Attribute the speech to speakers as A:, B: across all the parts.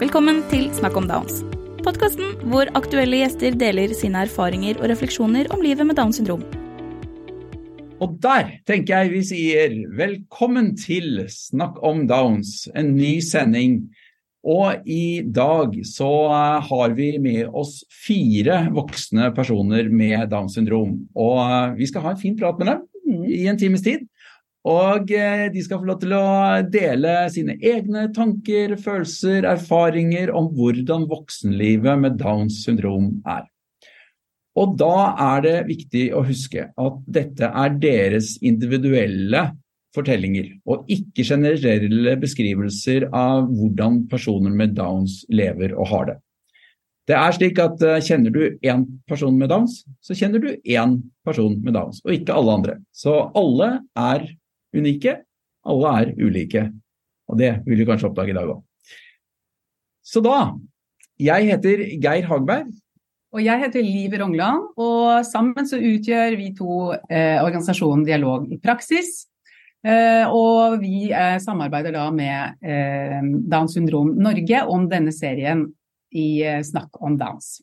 A: Velkommen til Snakk om Downs. Podkasten hvor aktuelle gjester deler sine erfaringer og refleksjoner om livet med Downs syndrom.
B: Og der tenker jeg vi sier velkommen til Snakk om Downs, en ny sending. Og i dag så eh, har vi med oss fire voksne personer med Downs syndrom. Og eh, vi skal ha en fin prat med dem i en times tid. Og eh, de skal få lov til å dele sine egne tanker, følelser, erfaringer om hvordan voksenlivet med Downs syndrom er. Og da er det viktig å huske at dette er deres individuelle fortellinger, og ikke generelle beskrivelser av hvordan personer med Downs lever og har det. Det er slik at eh, Kjenner du én person med Downs, så kjenner du én person med Downs, og ikke alle andre. Så alle er unike. Alle er ulike. Og det vil du kanskje oppdage i dag òg. Så da Jeg heter Geir Hagberg.
C: Og jeg heter Liv Rongland, og sammen så utgjør vi to eh, organisasjonen Dialog i praksis. Eh, og vi eh, samarbeider da med eh, Downs syndrom Norge om denne serien i eh, Snakk om Downs.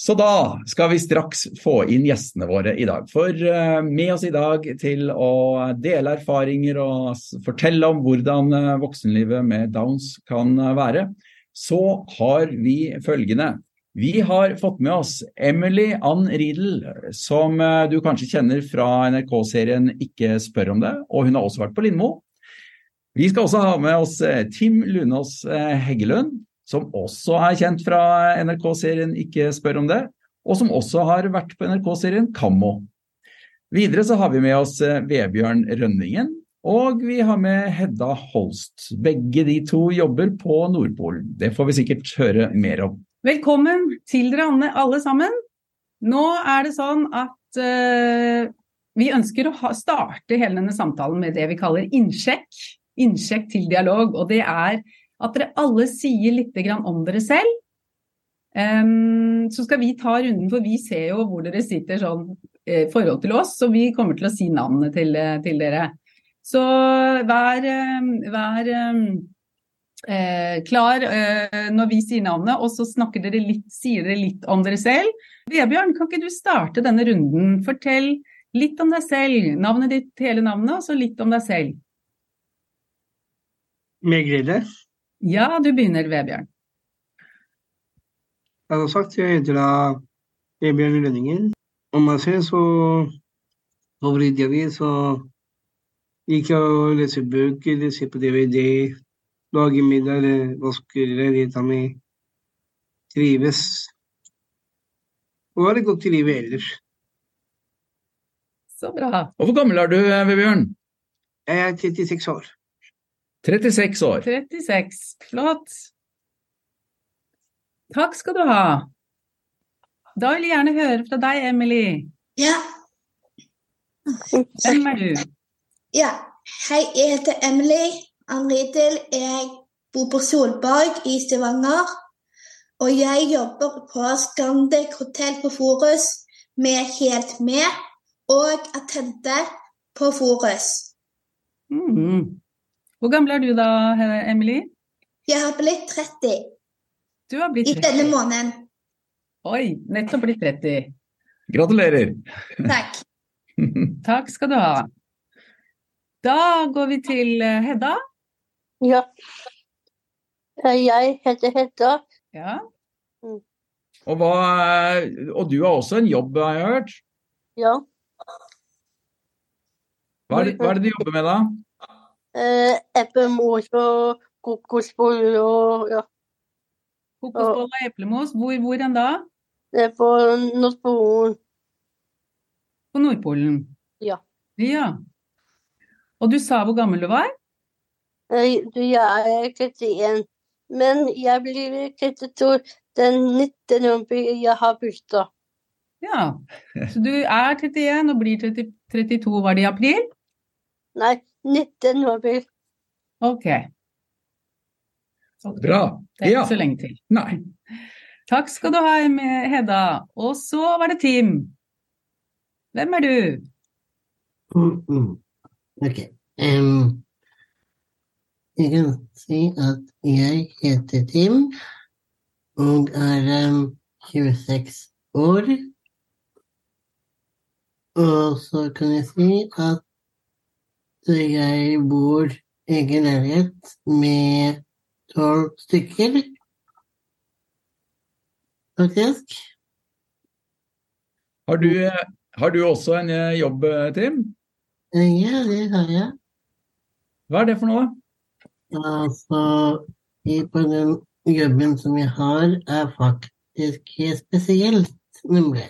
B: Så da skal vi straks få inn gjestene våre i dag. For eh, med oss i dag til å dele erfaringer og s- fortelle om hvordan eh, voksenlivet med Downs kan eh, være, så har vi følgende. Vi har fått med oss Emily Ann Riedel, som eh, du kanskje kjenner fra NRK-serien Ikke spør om det, og hun har også vært på Lindmo. Vi skal også ha med oss eh, Tim Lunås eh, Heggelund, som også er kjent fra NRK-serien Ikke spør om det, og som også har vært på NRK-serien Kammo. Videre så har vi med oss eh, Vebjørn Rønningen, og vi har med Hedda Holst. Begge de to jobber på Nordpolen. Det får vi sikkert høre mer om.
C: Velkommen til dere alle- alle sammen. Nå er det sånn at eh, vi ønsker å ha, starte hele denne samtalen med det vi kaller innsjekk. Innsjekk til dialog. Og det er at dere alle sier litt grann om dere selv. Em, så skal vi ta runden, for vi ser jo hvor dere sitter sånn i forhold til oss, så vi kommer til å si navnene til, eh, til dere. Så eh, vær, em, vær em, eh, klar eh, når vi sier navnet, og så snakker dere litt, sier dere litt om dere selv. Vebjørn, kan ikke du starte denne runden? Fortell litt om deg selv. Navnet ditt, hele navnet, og så litt om deg selv.
D: Med glede.
C: Ja, du begynner, Vebjørn.
D: Jeg har sagt jeg heter da Vebjørn Lønningen. Om meg selv så På fritida mi så liker jeg å lese bøker, eller se på DVD, lage middag, eller vaske leiligheta mi. Trives. Og har det godt i livet ellers.
C: Så bra.
B: Og hvor gammel er du, eh, Vebjørn?
D: Jeg er 36 år.
B: 36 år.
C: 36. Flott. Takk skal du ha. Da vil jeg gjerne høre fra deg, Emily.
E: Ja.
C: Hvem er du?
E: ja. Hei, jeg heter Emily Anridel. Jeg bor på Solborg i Stavanger. Og jeg jobber på Scandic hotell på Forus med Helt med og Attente på Forus.
C: Mm. Hvor gammel er du da, Emily?
E: Jeg har blitt 30
C: Du har blitt
E: i denne
C: 30.
E: måneden.
C: Oi, nettopp blitt 30.
B: Gratulerer.
E: Takk.
C: Takk skal du ha. Da går vi til eh, Hedda.
F: Ja. Eh, Jeg heter Hedda.
C: Ja,
B: Og, hva, eh, og du har også en jobb, har jeg hørt.
F: Ja.
B: Hva er det, hva er det du jobber med, da?
F: Eh, Eplemos og kokosboller og ja.
C: Kokosboll og eplemos. Hvor, hvor enn da?
F: Det er på Nordpolen.
C: På Nordpolen.
F: Ja.
C: Ja. Og du sa hvor gammel du var?
F: Eh, Du, jeg er 31. Men jeg blir 32 den 19. november. Jeg har bursdag.
C: Ja. Så du er 31 og blir 30, 32, var det i april?
F: Nei, 19. november.
C: Ok. Ok,
B: Bra.
C: Det er
B: Ja.
C: ikke så lenge til.
B: Nei.
C: Takk skal du ha, Em- Hedda. Og så var det Tim. Hvem er du?
G: Mm, mm. Ok. Em, Jeg kan si at jeg heter Tim og er em, 26 år. Og så kan jeg si at jeg bor i egen leilighet med tolv stykker, faktisk.
B: Har du, eh, har du også en eh, jobb, eh, Tim?
G: Eh, Ja, det har jeg.
B: Hva er det for noe?
G: Altså, i- på den jobben som jeg har, er faktisk helt spesielt, nemlig.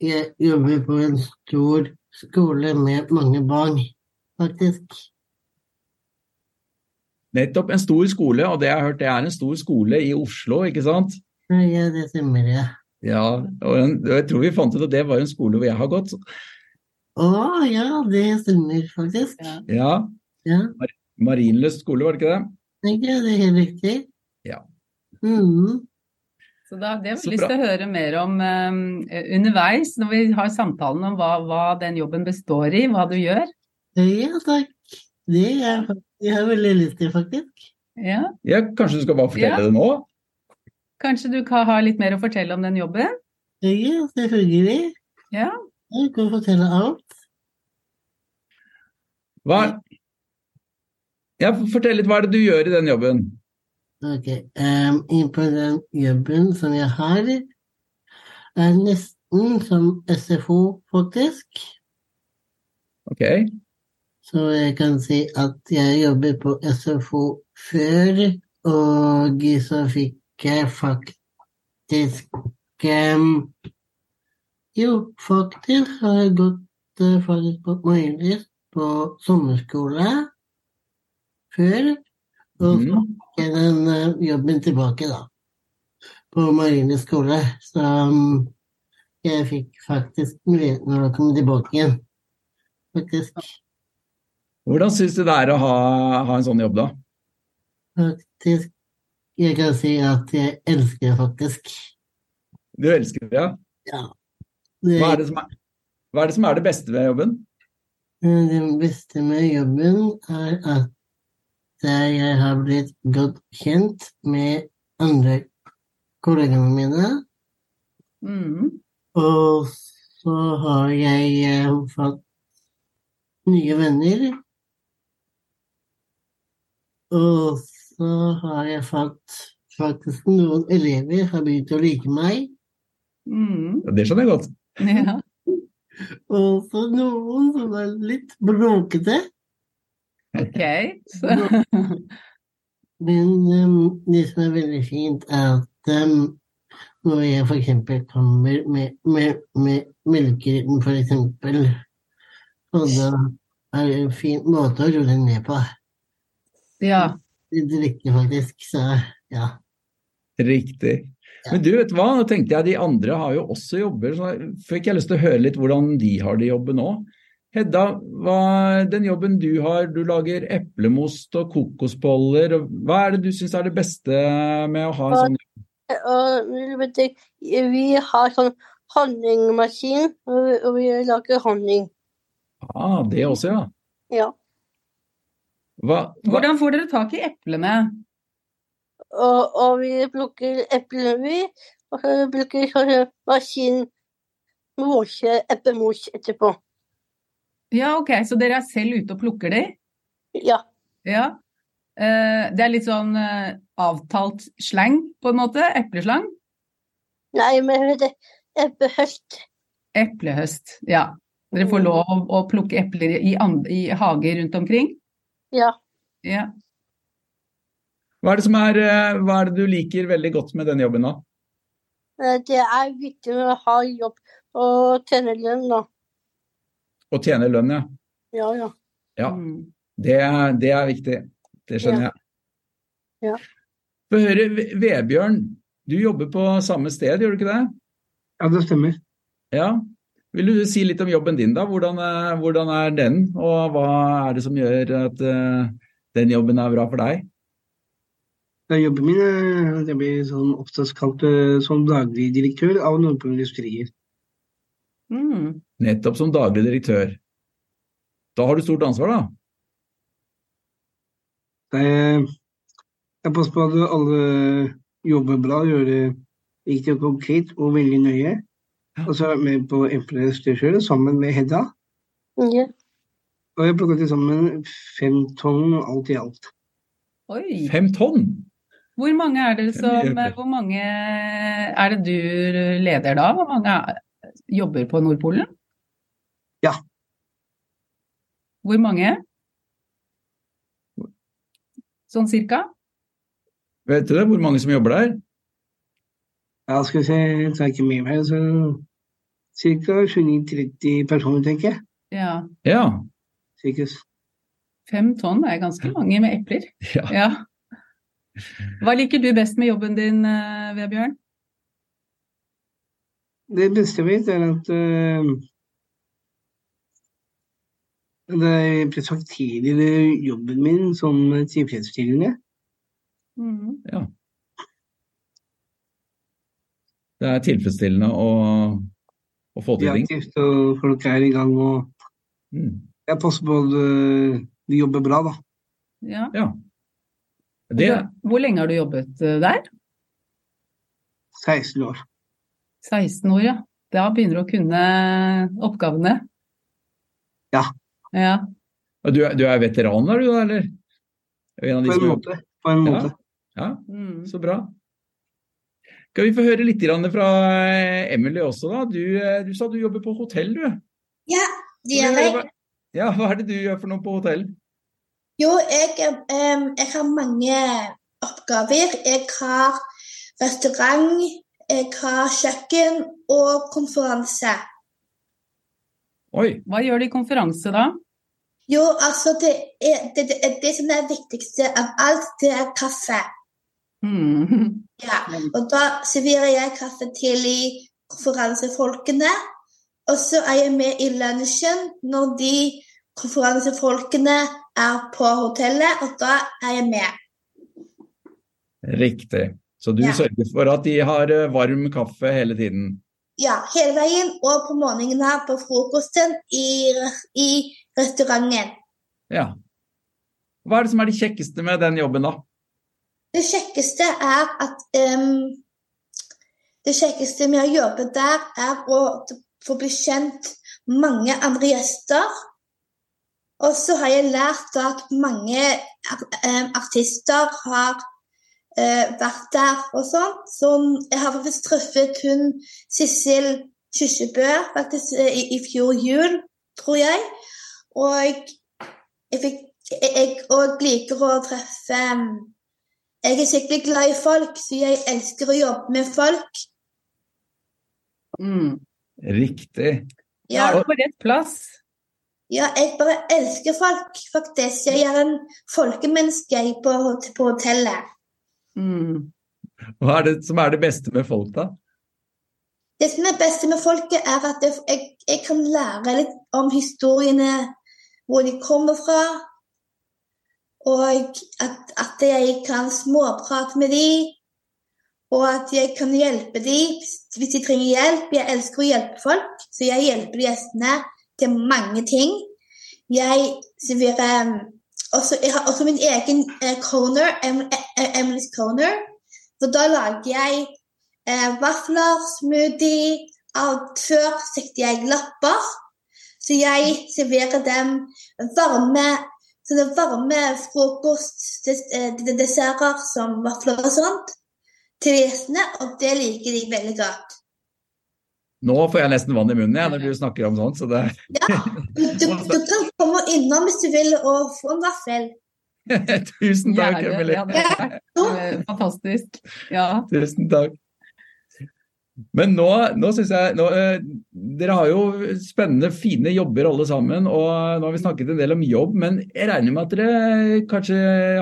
G: Jeg jobber på en stor skole med mange barn, faktisk.
B: Nettopp en stor skole, og det jeg har hørt, det er en stor skole i Oslo, ikke sant?
G: Ja, ja, det stemmer, ja.
B: Ja, og en- jeg tror vi fant ut at det var en skole hvor jeg har gått.
G: Å ja, det stemmer faktisk.
C: Ja.
B: Ja,
G: Ja,
B: Marienlyst skole, var det ikke det?
G: ikke det er helt riktig?
B: Ja.
G: Mhm.
C: Så da, det har
B: Så
C: vi lyst
B: bra.
C: til å høre mer om eh, underveis, når vi har samtalen om hva, hva den jobben består i, hva du gjør.
G: Ja takk. Det er, jeg har veldig lyst til, faktisk.
C: Ja.
B: Ja, kanskje du skal bare fortelle
C: Ja.
B: det nå?
C: Kanskje du kan ha litt mer å fortelle om den jobben?
G: Ja, selvfølgelig.
C: Ja.
G: Jeg kan fortelle alt.
B: Hva er... Ja, fortell litt, hva er det du gjør i den jobben?
G: Ok, um, på den jobben som jeg har, er nesten som SFO, faktisk.
B: Ok,
G: Så jeg kan si at jeg jobber på SFO før, og så fikk jeg faktisk em, Jo, faktisk har jeg gått eh, faktisk på Marienlyst på sommerskole før, og så
B: Mhm.
G: fikk jeg den eh, jobben tilbake, da. På Marienlyst skole, så mm, jeg fikk faktisk muligheten til å komme tilbake igjen, faktisk.
B: hvordan synes du det er å ha, ha en sånn jobb da?
G: Faktisk. Jeg kan si at jeg elsker det faktisk.
B: Du elsker det, ja.
G: Det,
B: Hva er det som er, hva er det, som er det beste ved jobben?
G: eh, det beste med jobben er at eh, jeg har blitt godt kjent med andre kollegaene mine.
C: Mm.
G: Og så har jeg eh, fått nye venner. Og så har jeg fått faktisk noen elever har begynt å like meg.
C: Mm.
B: Ja, det skjønner jeg godt.
C: Ja.
G: Og så noen som er litt bråkete.
C: Ok. Så.
G: Men em, det som er veldig fint, er at em, når jeg f.eks. kommer med, med, med melkeruten, f.eks., og da er det en fin måte å rulle ned på.
C: ja.
G: Det drikker faktisk, så ja.
B: Riktig.
G: Ja.
B: Men du vet du hva, nå tenkte jeg de andre har jo også jobber, så fikk jeg lyst til å høre litt hvordan de har det i jobben òg. Hedda, hva, den jobben du har, du lager eplemost og kokosboller. og Hva er det du syns er det beste med å ha en sånn jobb?
F: Og det- vi har sånn honningmaskin, og vi- og vi lager honning.
B: Ah, det også, ja.
F: Ja.
B: Hva, hva,
C: Hvordan får dere tak i eplene?
F: Og, og vi plukker eplene, vi. Og så bruker vi sånn maskin mose eplemos etterpå.
C: Ja, ok, så dere er selv ute og plukker de?
F: Ja.
C: Ja. Eh, det er litt sånn eh, avtalt slang, på en måte? Epleslang?
F: Nei, men det eplehøst.
C: Eplehøst, ja. Dere får lov å, å plukke epler i, and- i hager rundt omkring?
F: Ja.
C: Ja.
B: hva, er det som er, eh, hva er det du liker veldig godt med denne jobben, da?
F: Eh, Det er viktig å ha jobb og tjene lønn, da.
B: Å tjene lønn, ja.
F: Ja, ja.
B: Ja.
C: Mm.
B: Det, er- det er viktig. Det skjønner jeg.
F: Ja.
B: Få høre, Ve- Vebjørn, du jobber på samme sted, gjør du ikke det?
D: Ja, det stemmer.
B: Ja. Vil du si litt om jobben din, da? Hvordan, eh, hvordan er den, og hva er det som gjør at eh, den jobben er bra for deg?
D: Da jobben min er at jeg blir sånn oftest kalt eh, som daglig direktør av Nordpå Industrier.
C: Mm.
B: Nettopp som daglig direktør. Da har du stort ansvar, da.
D: Det er, eh, jeg passer på at alle jobber bra, gjør det riktig og konkret og veldig nøye. Og så er jeg med på Empress til sjø sammen med Hedda.
F: Ja.
D: Og jeg plukka til sammen fem tonn alt i alt.
C: Oi.
B: Fem tonn?
C: Hvor mange er det som eh,
B: Fem i øker.
C: Hvor mange er det du leder da? Hvor mange er, jobber på Nordpolen?
D: Ja.
C: Hvor mange? Sånn cirka?
B: Vet dere hvor mange som jobber der?
D: Ja, skal vi se, jeg tar ikke med meg, så ca. 29-30 personer, tenker jeg.
C: Ja.
B: Ja.
D: Cirkus.
C: Fem tonn er ganske mange med epler.
B: ja.
C: Ja. Hva liker du best med jobben din, eh, Vebjørn?
D: Det beste jeg vet, er at eh, det jeg presenterer jobben min som tilfredsstillende.
C: Mhm.
B: Det er tilfredsstillende å, å få
D: Det
B: til
D: er
B: ting.
D: aktivt, og folk er i gang. Og
B: Mm.
D: jeg passer på at eh, de jobber bra, da.
C: Ja.
B: Ja. Det,
C: Hvor lenge har du jobbet eh, der?
D: 16 år.
C: 16 år, ja. Da begynner du å kunne oppgavene.
D: Ja.
C: Ja,
B: du, er, du er veteran, er du da, eller? En av de
D: På en
B: som
D: måte. På en
B: Ja.
D: måte.
B: Ja,
C: mm.
B: så bra. Skal vi få høre litt grann fra eh, Emily også, da? Du, eh, du sa du jobber på hotell, du.
E: Ja,
B: Skal
E: det
B: vi
E: gjør
B: høre
E: jeg.
B: hva- Ja, hva er det du gjør for noe på hotell?
E: Jo, jeg, em, jeg har mange oppgaver. Jeg har restaurant, jeg har kjøkken og konferanse.
B: Oi.
C: Hva gjør du i konferanse da?
E: Jo, altså det, er, det, det, det som er viktigste av alt, det er kaffe.
C: Mm.
E: Ja, og da serverer jeg kaffe til i konferansefolkene. Og så er jeg med i lunsjen når de konferansefolkene er på hotellet, og da er jeg med.
B: Riktig. Så du
E: Ja.
B: sørger for at de har eh, varm kaffe hele tiden.
E: Ja, hele veien og på morgenen her på frokosten i, i restauranten.
B: Ja. Hva er det som er det kjekkeste med den jobben, da?
E: Det kjekkeste er at em, Det kjekkeste med å jobbe der, er å få bli kjent mange andre gjester. Og så har jeg lært da at mange em, artister har eh, vært der og sånn. Så jeg har faktisk truffet hun Sissel Kyrkjebø faktisk eh, i, i fjor jul, tror jeg. Og jeg, fikk, jeg, jeg og liker å treffe em, jeg er skikkelig glad i folk, så jeg elsker å jobbe med folk.
C: Mm.
B: Riktig.
C: Da
E: Ja,
C: er du på rett plass.
E: ja, jeg bare elsker folk, faktisk. Jeg er en folkemenneske jeg, på, hot- på hotellet.
C: Mm.
B: Hva er det som er det beste med folk, da?
E: Det som er best med folket, er at jeg, jeg, jeg kan lære litt om historiene, hvor de kommer fra, og at, at jeg kan småprate med dem, og at jeg kan hjelpe dem hvis, hvis de trenger hjelp. Jeg elsker å hjelpe folk, så jeg hjelper gjestene til mange ting. Jeg serverer um, også, Jeg har også min egen eh, corner, Em- eh, Emily's corner, for da lager jeg eh, vafler, smoothie. Alt før stekte jeg lapper, så jeg serverer dem varme sånne varme frokost, des- eh, d- desserter som vafler og sånt til gjestene, og det liker de veldig godt.
B: Nå får jeg nesten vann i munnen jeg, når du snakker om sånt, så det
E: Ja, du, du, du kan komme innom hvis du vil og få en vaffel.
B: Tusen takk,
C: Gjerne.
B: Emily.
C: Ja, det er sterkt. Eh, Fantastisk. Ja.
B: Tusen takk. Men nå, nå syns jeg nå, eh, Dere har jo spennende, fine jobber alle sammen. Og nå har vi snakket en del om jobb, men jeg regner med at dere kanskje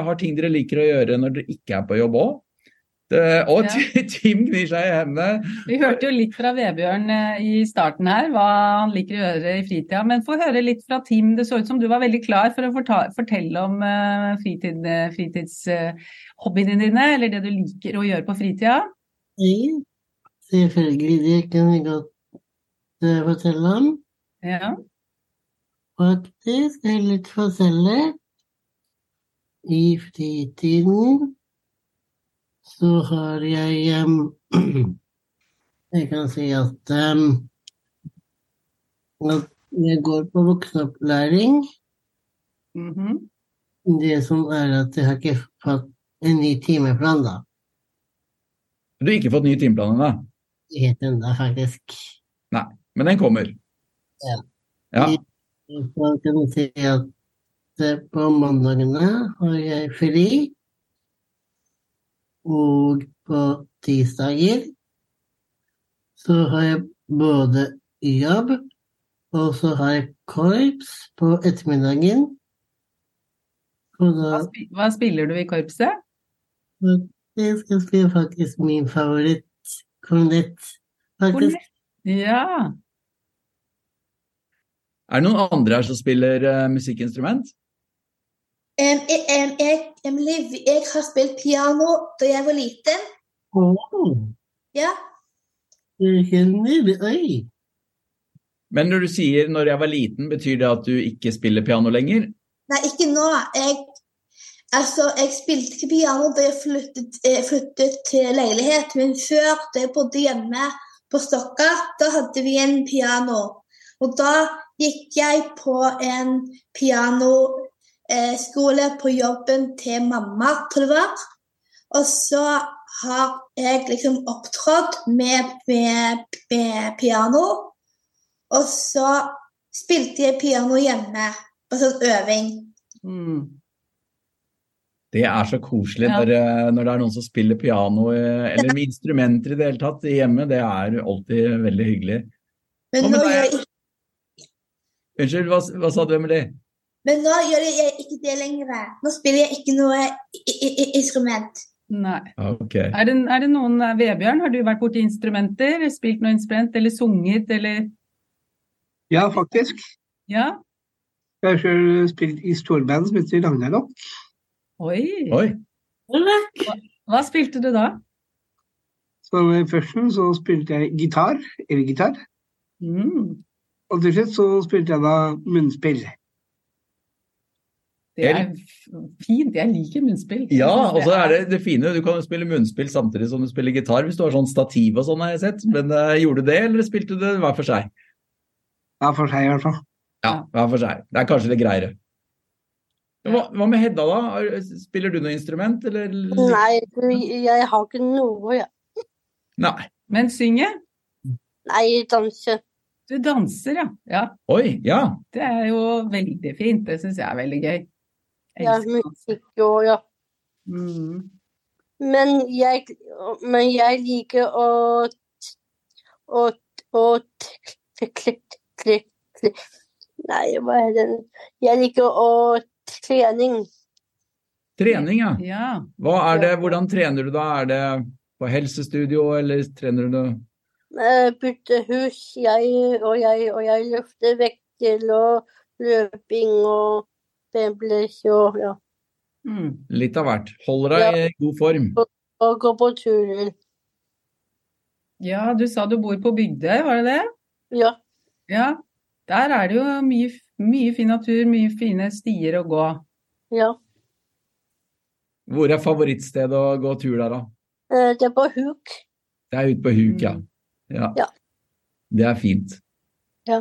B: har ting dere liker å gjøre når dere ikke er på jobb òg? Og
C: Ja.
B: Tim gnir seg i hendene.
C: Vi hørte jo litt fra Vebjørn eh, i starten her, hva han liker å gjøre i fritida. Men få høre litt fra Tim. Det så ut som du var veldig klar for å forta- fortelle om eh, fritid, eh, fritidshobbyene dine, eller det du liker å gjøre på fritida.
G: Ja, selvfølgelig, det kan jeg godt eh, fortelle om.
C: Ja.
G: Faktisk, jeg vil litt fortelle i fritiden så har jeg em, Jeg kan si at, em, at jeg går på voksenopplæring.
C: Mhm.
G: Det som er at jeg har ikke fått en ny timeplan, da.
B: Du har ikke fått ny timeplan ennå,
G: Helt ennå, faktisk.
B: men den kommer.
G: Ja.
B: Ja.
G: Så kan jeg si at eh, på mandagene har jeg fri. Og på tirsdager så har jeg både jobb, og så har jeg korps på ettermiddagen. Og da
C: Hva, spi- hva spiller du i korpset?
G: faktisk jeg spiller faktisk min favoritt, kornett. Faktisk,
C: Ja.
B: Er det noen andre her som spiller eh, musikkinstrument?
E: Em, jeg, em, jeg, Emily, jeg har spilt piano da jeg var liten.
G: Åh,
E: Ja.
G: du kjenner Oi!
B: Men når du sier 'når jeg var liten', betyr det at du ikke spiller piano lenger?
E: Nei, ikke nå. Jeg, altså, jeg spilte ikke piano da jeg flyttet, eh, flyttet til leilighet, men før, da jeg bodde hjemme på Stokker, da hadde vi en piano. Og da gikk jeg på en pianoskole eh, skole på jobben til mamma, tror jeg det var. Og så har jeg liksom opptrådt med, med, med piano. Og så spilte jeg piano hjemme på sånn øving.
C: Mm.
B: Det er så koselig
C: Ja.
B: når, eh, når det er noen som spiller piano eh, eller med instrumenter i det hele tatt i hjemmet. Det er alltid veldig hyggelig.
E: Men
B: Hva med
E: nå,
B: deg?
E: gjør jeg, ikke-
B: Unnskyld, hva, hva sa du, Emily?
E: men nå gjør jeg ikke det lenger. Nå spiller jeg ikke noe i- i- i- instrument.
C: Nei.
B: Ok.
C: Er det, er det noen eh, Vebjørn, har du vært borti instrumenter? Spilt noe instrument, eller sunget, eller
D: Ja, faktisk.
C: Ja?
D: Jeg har selv spilt i storband som heter Ragnarok.
C: Oi.
B: Oi.
C: Hva spilte du da?
D: Så med førsten så spilte jeg gitar, elgitar.
C: Mm.
D: Og til slutt så spilte jeg da munnspill.
C: Det er
B: El.
C: f- fint. Jeg liker munnspill.
B: Ja, og så er det det fine. Du kan jo spille munnspill samtidig som du spiller gitar, hvis du har sånn stativ og sånn, har jeg sett. Men eh, gjorde du det, eller spilte du det hver for seg?
D: Ja, for seg i hvert fall.
B: Ja, hver for seg. Det er kanskje litt greiere. Hva, hva med Hedda, da? Er- Spiller du noe instrument, eller?
F: Nei, du, jeg har ikke noe jeg-
B: Nei.
C: Men synge?
F: Nei, danse.
C: Du danser, ja. ja.
B: Oi, ja.
C: Det er jo veldig fint. Det syns jeg er veldig gøy. Jeg
F: Ja,
C: elsker å danse.
F: Ikke å- ja.
C: Mm.
F: Men jeg, men jeg liker å å å Nei, hva er den Jeg liker å trening.
B: Trening, ja.
C: Ja.
B: Hva er det, hvordan trener du da? Er det på helsestudio, eller trener du noe?
F: Eh, Bytte hus, jeg og jeg og jeg løfter vekter og løping og bebles og ja.
C: Mm.
B: Litt av hvert. Holder deg i god form.
F: Og gå på turer.
C: ja, du sa du bor på Bygdøy, var det det?
F: Ja.
C: Ja. Der er det jo mye, mye fin natur, mye fine stier å gå.
F: ja.
B: Hvor er favorittstedet å gå tur der, da?
F: Eh, Det er på huk.
B: Det er ute på huk, ja. ja.
F: Mm. Ja.
B: Det er fint.
F: Ja.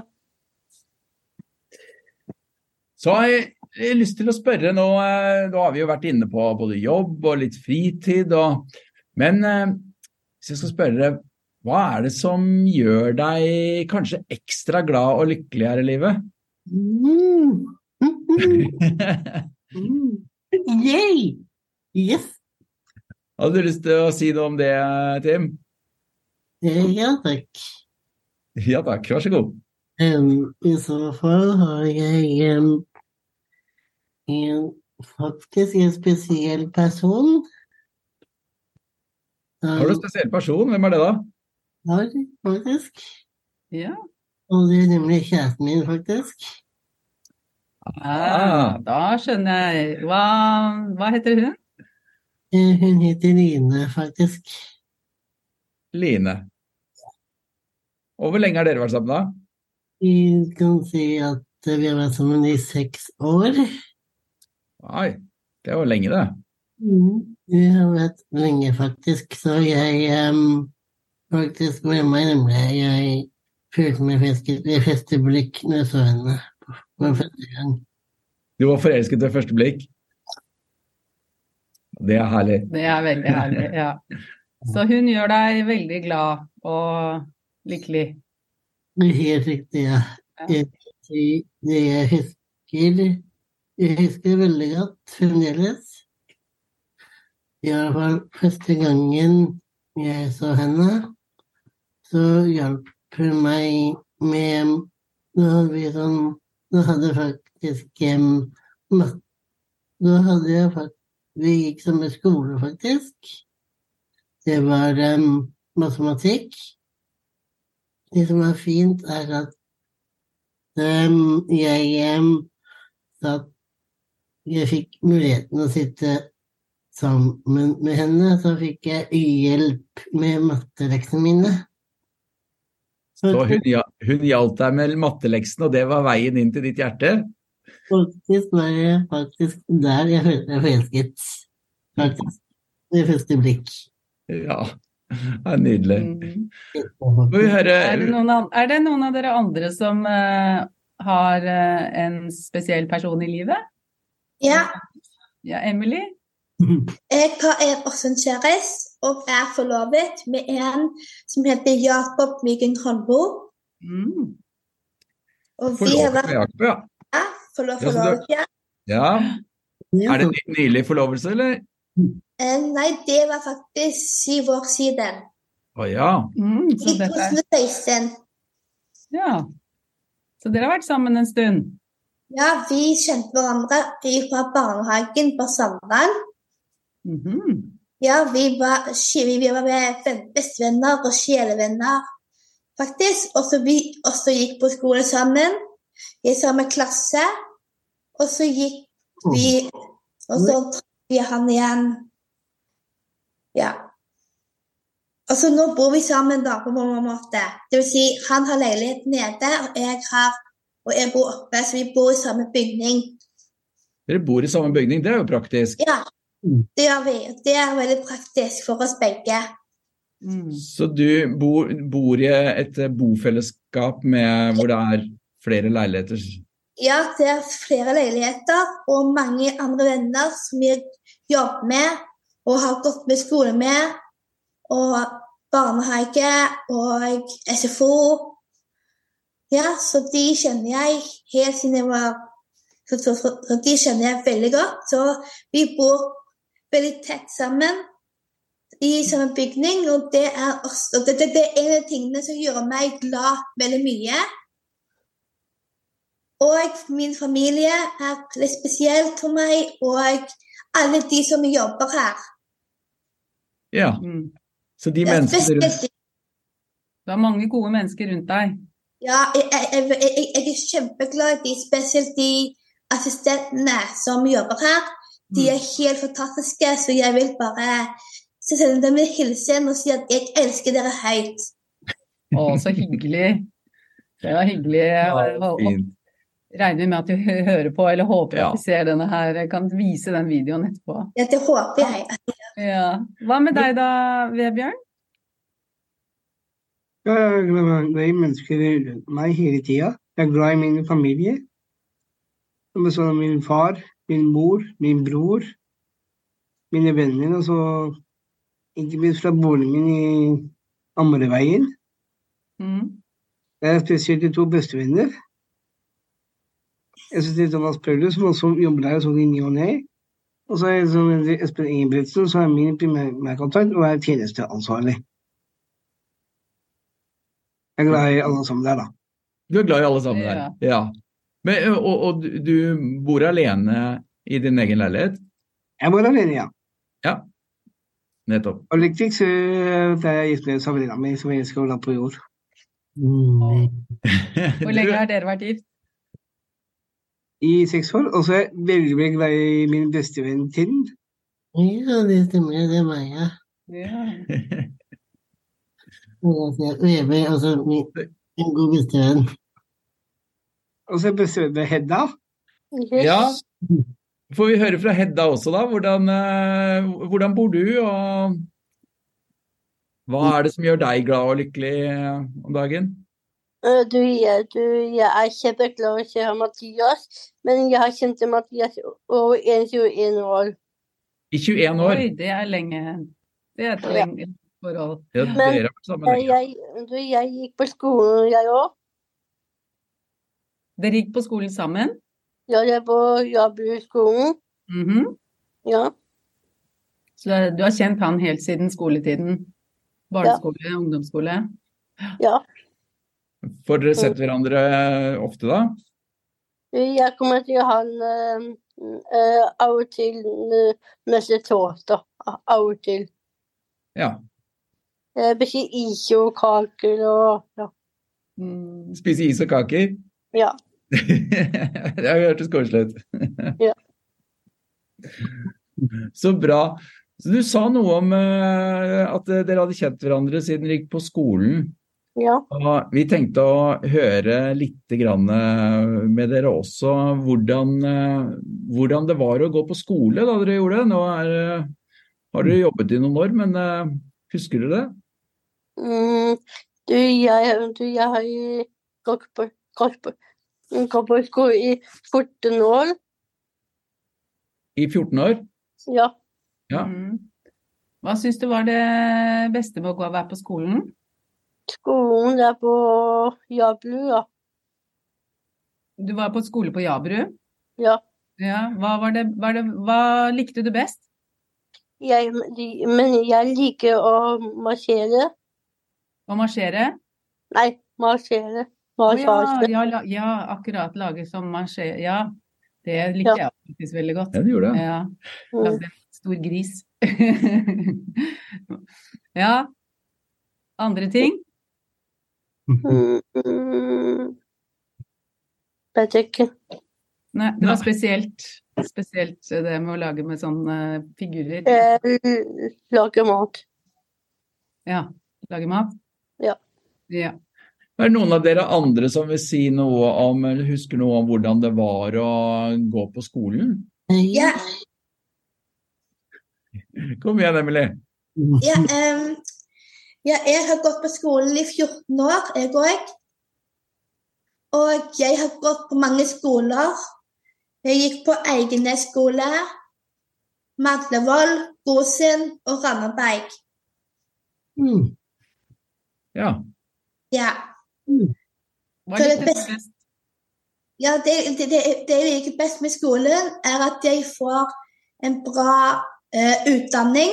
B: Så har jeg, jeg har lyst til å spørre nå eh, Nå har vi jo vært inne på både jobb og litt fritid og Men eh, hvis jeg skal spørre deg, hva er det som gjør deg kanskje ekstra glad og lykkelig her i
G: Mm.
B: livet?
G: Yay! Yes!
B: Hadde du lyst til å si noe om det, Tim?
G: Eh, Ja takk.
B: Ja takk, vær så god.
G: Em, I så fall har jeg em, en, faktisk en spesiell person.
B: Har du en spesiell person? Hvem er det, da?
G: har, faktisk.
C: Ja.
G: Og det er nemlig kjæresten min, faktisk.
C: Ah, da skjønner jeg. Hva, hva heter hun?
G: Eh, Hun heter Line, faktisk.
B: Line. Og hvor lenge har dere vært sammen, da?
G: Vi kan si at vi har vært sammen i seks år.
B: Oi, Det er jo lenge, det.
G: Mm, Det har vært lenge, faktisk. Så jeg em, faktisk må jeg innrømme at jeg følte meg festet ved første blikk når jeg så henne for første gang.
B: Du var forelsket ved første blikk. Det er herlig.
C: Det er veldig herlig. Ja. Så hun gjør deg veldig glad og lykkelig.
G: Det er helt riktig, ja. Det, det- det jeg husker Jeg husker veldig godt fremdeles. I alle fall første gangen jeg så henne, så hjalp hun meg med Da hadde vi sånn Da hadde faktisk em, mat- Da hadde jeg faktisk Vi gikk samme skole, faktisk. Det var em, matematikk. Det som er fint, er at ehm, jeg ehm, satt Jeg fikk muligheten å sitte sammen med henne, så fikk jeg hjelp med matteleksene mine. Så
B: Så hun, hja- hun hjalp deg med matteleksene, og det var veien inn til ditt hjerte?
G: faktisk var jeg faktisk der jeg følte meg forelsket. Faktisk. Ved første blikk.
B: Ja, det er nydelig.
C: Mm.
B: Får vi høre
C: Er, det noen, an- er det noen av dere andre som eh, har eh, en spesiell person i livet?
E: Ja,
C: Ja, Emily?
E: jeg har en også en kjæreste, og er forlovet med en som heter Jakob Mygen Holmbo.
C: Mm.
E: Og vi har
B: Forlovet med
E: vært
B: Jakob, ja.
E: ja, forlo-
B: Ja, så du-
E: forlovet, ja.
B: ja. Er det
G: Ja,
B: en nylig forlovelse, eller?
E: Eh, Nei, det var faktisk syv år siden.
B: Å ja.
C: Mm,
E: I
C: så, dette er,
E: 2016.
C: ja. så dere har vært sammen en stund?
E: Ja, vi kjente hverandre Vi fra barnehagen på Sandland.
C: Mhm.
E: Ja, vi var, ski- vi var venn- bestevenner og sjelevenner, faktisk. Og så vi også gikk på skole sammen, i samme klasse. Og så gikk
G: Mm.
E: vi Og så traff vi han igjen. Ja. Og så nå bor vi sammen da, på mange måter. Det vil si, han har leilighet nede, og jeg har og jeg bor oppe, så vi bor i samme bygning.
B: Dere bor i samme bygning, det er jo praktisk.
E: Ja, det gjør vi. og Det er veldig praktisk for oss begge.
C: Mm.
B: Så du bor, bor i et eh, bofellesskap med, hvor det er flere leiligheter?
E: Ja, det er flere leiligheter og mange andre venner som jeg jobber med og har gått med skole med, og barnehage og SFO. Ja, så de kjenner jeg helt siden jeg var så, så, så, så De kjenner jeg veldig godt. Så vi bor veldig tett sammen i samme bygning, og det er, også, og det, det, det er en av tingene som gjør meg glad veldig mye. Og min familie er litt spesiell for meg, og alle de som jobber her.
B: Ja.
C: Mm.
B: Så de
E: Det er
B: menneskene rundt
E: spesielt.
C: Du har mange gode mennesker rundt deg.
E: Ja, jeg, jeg, jeg, jeg, jeg er kjempeglad i de, spesielt de assistentene som jobber her.
B: Mm.
E: De er helt fantastiske, så jeg vil bare sende dem en hilsen og si at jeg elsker dere høyt.
C: Å, så hyggelig. Det var hyggelig. Jeg
B: Ja,
C: hol-
B: fint.
C: regner med at du hø- hører på, eller håper
B: Ja.
C: at du ser denne her. Jeg kan vise den videoen etterpå.
E: Ja, det håper jeg.
C: Ja. Hva med deg da, Vebjørn?
D: Jeg er glad i mennesker rundt meg hele tida. Jeg er glad i min familie. Som består av min far, min mor, min bror, mine venner, og så ikke minst fra boligen min i Ammerveien.
C: Mm.
D: Det er spesielt de to bestevenner. Jeg synes det er Thomas Paulus, som også jobber der sånn i ny og ne. Og så er jeg som heter Espen Ingebrigtsen, som er min primærkontakt, og er tjenesteansvarlig. Jeg er glad i alle sammen der, da.
B: Du er glad i alle sammen der?
C: Ja.
B: Ja. Men, ø, og, og du- du bor alene i din egen leilighet?
D: Jeg bor alene, ja.
B: Nettopp.
D: Og lykkeligst øh, det er jeg gift med Sabrina mi, som jeg elsker å la på jord.
G: mm,
C: Hvor lenge
B: Du-
C: har dere vært gift?
D: I seks år. Og så er jeg veldig veldig glad i min bestevenn Tinn.
G: ja, det stemmer. Det var jeg.
C: Ja.
G: Vebe, altså min, en god bestevenn.
D: Og så er bestevennen Hedda.
F: Yes.
B: Ja. Får vi høre fra Hedda også, da. Hvordan, eh, hvordan bor du, og hva er det som gjør deg glad og lykkelig eh, om dagen?
F: Eh, Du, jeg, du, jeg er kjempeglad i å se Mathias, men jeg har kjent Mathias i over 21 år.
B: I 21 år.
C: Oi, det er lenge. Det er et
F: Ja.
C: lenge forhold.
B: Ja,
F: Men- eh,
B: dere har vært sammen
F: Jeg,
B: lenge.
F: jeg- du, jeg gikk på skolen, jeg òg.
C: Dere gikk på skolen sammen?
F: Ja, jeg på jobbeskolen.
C: Mhm.
F: Ja.
C: Så det er- du har kjent han helt siden skoletiden? Barneskole, ungdomsskole?
B: Får dere sett hverandre eh, ofte, da?
F: Du, Jeg kommer til å ha en eh, eh, av og til eh, neste torsdag. Av og til.
B: Ja.
F: Jeg bestiller is og kaker og ja.
C: Mm.
B: Spise is og kaker?
F: Ja.
B: det hørtes koselig ut.
F: Ja.
B: Så bra. Så du sa noe om eh, at dere hadde kjent hverandre siden dere gikk på skolen.
F: ja.
B: Og vi tenkte å høre litt grann eh, med dere også hvordan, eh, hvordan det var å gå på skole da dere gjorde det. Nå er, eh, har dere jobbet i noen år, men eh, husker dere det?
F: Mm, du, jeg, du, jeg har jo gått på, gått på, gått på skole i 14 år.
B: I 14 år?
F: Ja.
B: Ja.
C: Mm. Hva syns du var det beste med å gå- være på skolen?
F: Skolen er på Jablu, ja.
C: Du var på skole på Jabru?
F: ja.
C: Ja. Hva, var det, var det, hva likte du best?
F: Jeg, de- men jeg liker å marsjere.
C: Å marsjere?
F: Nei, marsjere.
C: Å ja,
F: Marsjasje.
C: ja, la- ja, akkurat. Lage som marsjere. Ja. Det likte jeg faktisk veldig godt.
B: Ja, det gjorde det.
C: Ja.
F: Mm.
C: Lagde en stor gris. ja. Andre ting?
F: Mm, mm. Vet jeg ikke.
C: Nei, det var
B: Nei.
C: spesielt. Spesielt det med å lage med sånne figurer.
F: Eh, l- Lage mat.
C: Ja. Lage mat.
F: Ja.
C: Ja.
B: Er det noen av dere andre som vil si noe om, eller husker noe om hvordan det var å gå på skolen?
E: Ja,
B: Kom igjen, Emily.
E: ja, em, ja, jeg har gått på skolen i 14 år, jeg òg. Og jeg har gått på mange skoler. Jeg gikk på Eigenes skole, Madlevoll, Gosen og Randaberg.
G: Mm.
B: Ja.
E: Ja.
C: Hva
E: Så det
C: likte du best?
E: Ja, det, det, det, det jeg liker best med skolen, er at jeg får en bra eh, utdanning.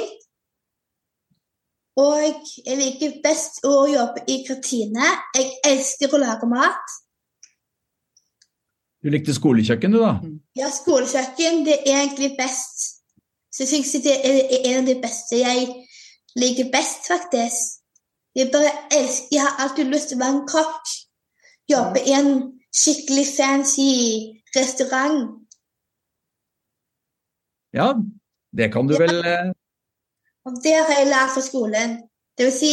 E: Og jeg liker best å jobbe i kantine. Jeg elsker å lage mat.
B: Du likte skolekjøkken, du da?
E: Ja, skolekjøkken det er egentlig best. Så jeg syns det er er en av de beste jeg liker best, faktisk. Jeg bare elsker Jeg har alltid lyst til å være en kokk. Jobbe i en skikkelig fancy restaurant.
B: Ja, det kan du
E: Ja.
B: vel eh,
E: Og det har jeg lært fra skolen. Det vil si,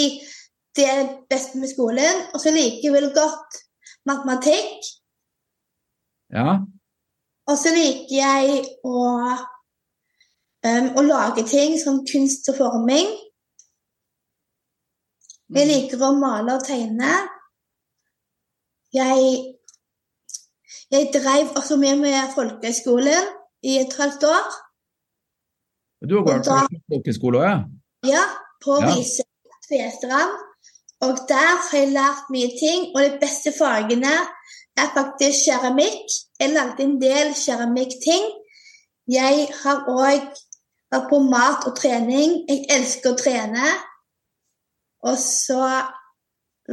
E: det er det beste med skolen. Og så liker jeg veldig godt matematikk.
B: Ja.
E: Og så liker jeg å, øhm, å lage ting som kunst og forming. Jeg
C: Mm.
E: liker å male og tegne. Jeg, jeg drev også med med folkehøyskolen i et halvt år.
B: Du har gått
E: Og
B: på folkeskole òg, ja?
E: Ja, på
B: Ja.
E: Risør Tvestrand. Og der har jeg lært mye ting. Og de beste fagene er faktisk keramikk. Jeg lagde en del keramikkting. Jeg har òg vært på mat og trening. Jeg elsker å trene. Og så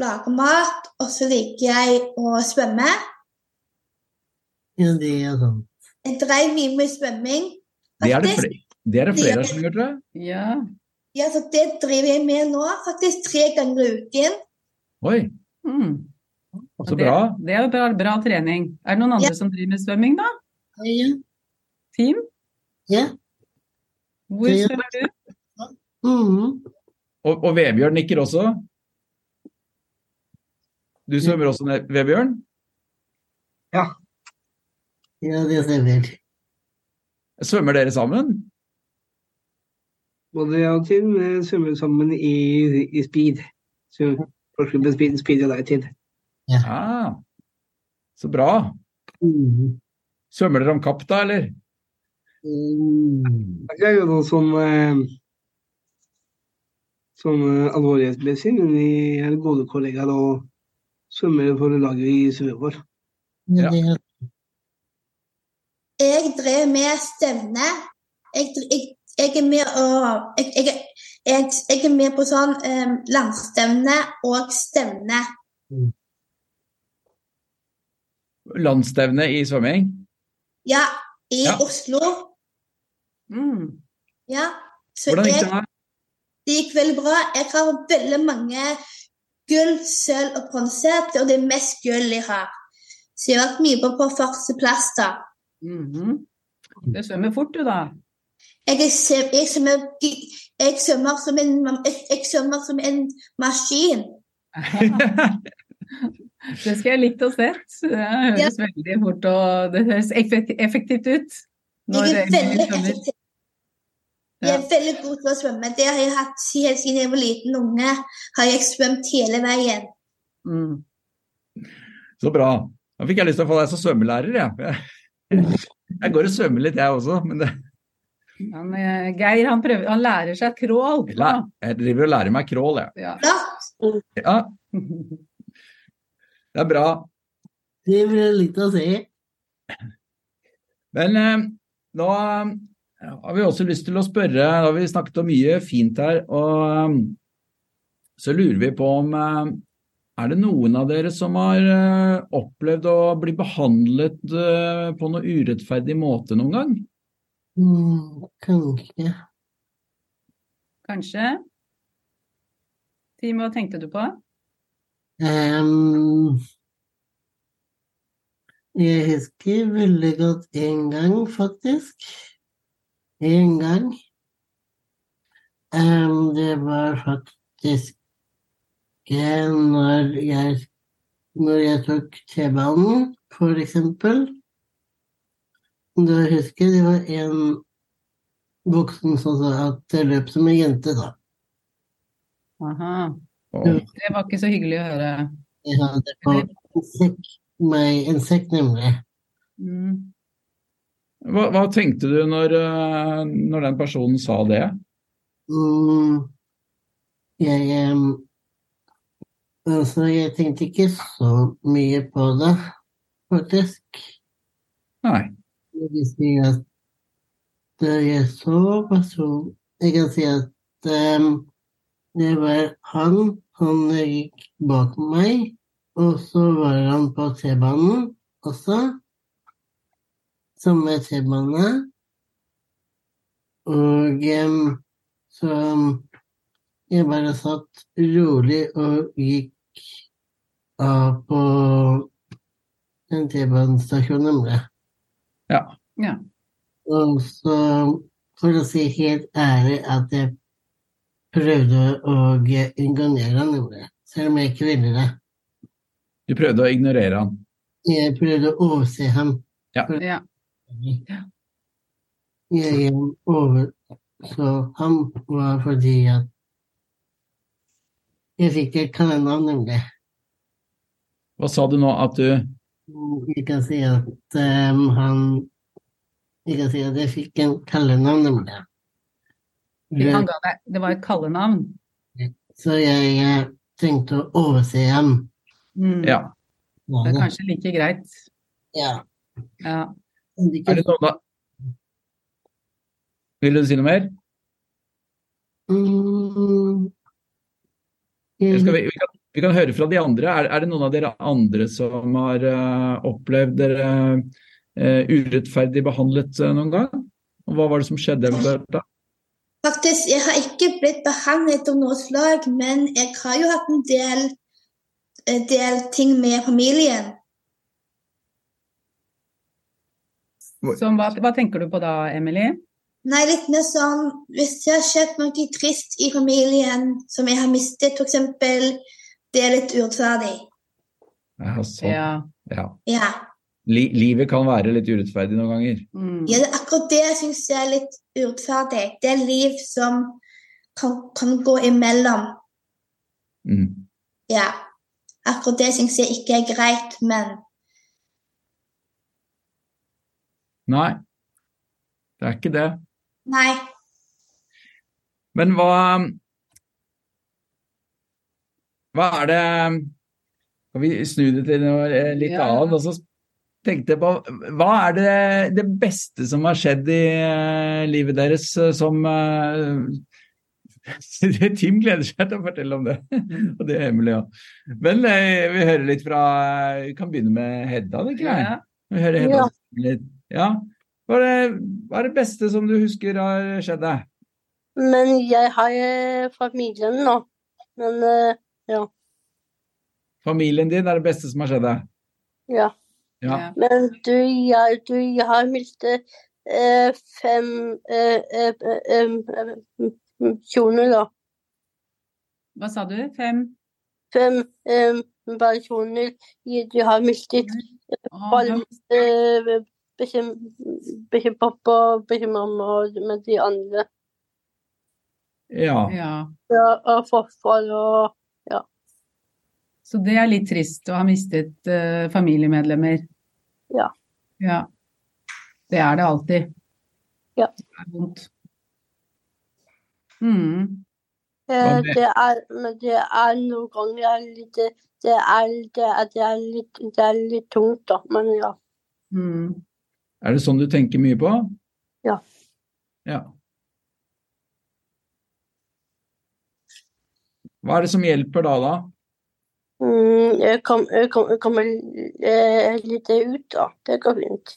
E: lage mat. Og så liker jeg å svømme.
G: Ja, det er sånn.
E: Jeg drev mye med svømming.
B: Det er det
E: Faktisk.
B: flere, det er det flere som gjør, tror jeg.
C: Ja.
E: Ja, for det driver jeg med nå, faktisk tre ganger i uken.
B: Oi,
C: Mm.
B: så
C: Det-
B: bra.
C: Det er jo bra, bra trening. Er det noen andre
E: Ja.
C: som driver med svømming, da?
G: Ja.
C: Team?
G: ja.
C: Hvor
G: Ja.
C: svømmer du?
G: Mm.
B: Og, og Vebjørn nikker også. Du svømmer også, ned- Vebjørn?
G: ja, det stemmer.
B: Svømmer dere sammen?
D: Både jeg og Tim eh, svømmer sammen i, i speed. Så Sportsklubben Speed speeder deg til.
B: Ja. Ah, Så bra.
G: Mm.
B: Svømmer dere om kapp da, eller?
G: Mm.
D: Jeg gjør noe sånn, eh, sånn eh, alvorlighetsmessig, men vi er gode kollegaer og svømmer for laget vi svømmer for.
B: Ja.
G: Ja. det er-
E: Jeg drev med stevne. Jeg, jeg, jeg er med å jeg, jeg, jeg, jeg er med på sånn um, landstevne og stevne.
B: Landsstevne i svømming?
E: Ja, i
B: Ja.
E: Oslo.
C: Mm.
E: Ja. Så
B: Hvordan gikk
E: jeg,
B: det da?
E: det gikk veldig bra. Jeg har veldig mange gull, sølv og bronse, og det er mest gull jeg har. Så jeg har vært mye på, på førsteplass, da.
C: Mhm. Du svømmer fort, du, da.
E: Jeg, er svøm- jeg, svømmer, jeg, svømmer som en, jeg, jeg svømmer som en maskin.
C: Det skulle jeg likt å sett. Det høres veldig fort og det høres effek- effektivt ut. når
E: Jeg er
C: Emily
E: veldig
C: svømmer.
E: effektiv. Jeg er veldig god til å svømme. Det har jeg hatt helt siden jeg var liten unge. Har jeg svømt hele veien.
C: Mm.
B: Så bra. Da fikk jeg lyst til å få deg som svømmelærer, jeg. Jeg går og svømmer litt, jeg også. Men det,
C: Han, eh, Geir han, prøver, han lærer seg crawl.
B: jeg
C: da.
B: læ- jeg driver og lærer meg crawl, jeg.
C: Ja.
E: Da,
B: Ja, det er bra.
G: Det ville jeg likt å se.
B: Men eh, nå eh, har vi også lyst til å spørre Da har vi snakket om mye fint her, og eh, så lurer vi på om eh, Er det noen av dere som har eh, opplevd å bli behandlet eh, på noe urettferdig måte noen gang?
G: Mm, kanskje.
C: Kanskje. Tim, hva tenkte du på?
G: Ehm, jeg husker veldig godt en gang, faktisk. En gang. Ehm, det var faktisk eh, når jeg, når jeg tok T-banen, for eksempel. Da husker jeg det var en voksen som sa at jeg løp som en jente, da.
C: Aha.
B: Og,
C: Det var ikke så hyggelig å høre.
G: Jeg hadde på en sekk, meg en sekk nemlig.
C: Mm.
B: hva, hva tenkte du når, eh, når den personen sa det?
G: Mm, jeg em, Altså, jeg tenkte ikke så mye på det, faktisk.
B: Nei.
G: Jeg vil si at da jeg så personen Jeg kan si at em, det var han som gikk bak meg, og så var han på T-banen også. Samme T-bane. Og em, så jeg bare satt rolig og gikk av på en T-banestasjon, nemlig.
B: Ja.
C: Ja.
G: Og så, for å si helt ærlig, at jeg prøvde å imponere han, nemlig. Selv om jeg ikke ville det.
B: Du prøvde å ignorere han.
G: Jeg prøvde å overse ham.
C: Ja.
G: Jeg eh, overså ham var fordi at jeg fikk et kallenavn, nemlig.
B: Hva sa du nå at du
G: Vi kan si at ehm, han Vi kan si at jeg fikk en kallenavn, nemlig.
C: Han
G: Rød,
C: ga deg, det var et kallenavn.
G: så jeg eh, tenkte å overse ham.
C: Mm.
B: Ja.
C: Det er kanskje like greit.
G: Ja.
C: Ja.
B: Er det noen av Vil du si noe mer?
G: Mm.
B: Eller Skal vi, vi, kan, vi kan høre fra de andre. Er, er det noen av dere andre som har eh, opplevd dere eh, urettferdig behandlet eh, noen gang? Og hva var det som skjedde eventuelt da?
E: faktisk, jeg har ikke blitt behandlet av noe slag, men jeg har jo hatt en del, en del ting med familien.
C: Som, hva, hva tenker du på da, Emily?
E: Nei, litt mer sånn Hvis det har skjedd noe trist i familien som jeg har mistet, f.eks. Det er litt urettferdig.
B: Ja, sånn.
C: Ja.
B: Ja.
E: Ja.
B: Li livet kan være litt urettferdig noen ganger.
C: Mm.
E: Ja, det, er akkurat det syns jeg er litt urettferdig. Det er liv som kan, kan gå imellom.
B: Mm.
E: Ja. Akkurat det syns jeg ikke er greit, men
B: Nei, det er ikke det.
E: nei.
B: Men hva Hva er det Skal vi snu det til noe eh, litt
C: Ja.
B: annet? Og så tenkte jeg på Hva er det, det beste som har skjedd i eh, livet deres eh, som eh, Tim gleder seg til å fortelle om det,
C: Mm.
B: og det er hemmelig òg. Men eh, vi hører litt fra Vi kan begynne med Hedda, det ikke jeg?
C: Ja.
B: Vi hører Hedda
F: Ja.
B: snakke litt. Ja. Hva er, det, hva er det beste som du husker har skjedd deg?
F: Men jeg har eh, familien nå. Men eh,
B: Familien din er det beste som har skjedd deg.
F: ja.
B: Ja.
C: Ja.
F: Men du, jeg, du, jeg har mistet eh, fem eh, eh, eh, eh, eh, kjoner, da.
C: Hva sa du? Fem?
F: Fem eh, personer i- du har mistet.
C: Å,
F: Bare-
C: hvem-
F: Eh, Bikkje bikkje pappa og bikkje mamma og med de andre.
B: ja.
C: ja.
F: Ja, og farfar og
C: Så det er litt trist å ha mistet eh, familiemedlemmer.
F: Ja.
C: Ja. Det er det alltid.
F: Ja.
C: Det er vondt. Mm.
F: Eh,
B: Hva med-
F: det er, men det er noen ganger det er litt det er, det er, det er, litt, det er litt tungt, da. Men ja.
C: Mm.
B: Er det sånn du tenker mye på?
F: Ja.
B: Ja. Hva er det som hjelper da, da?
F: Mm, jeg kom- jeg kom- jeg kommer eh, litt ut, da. Det går fint.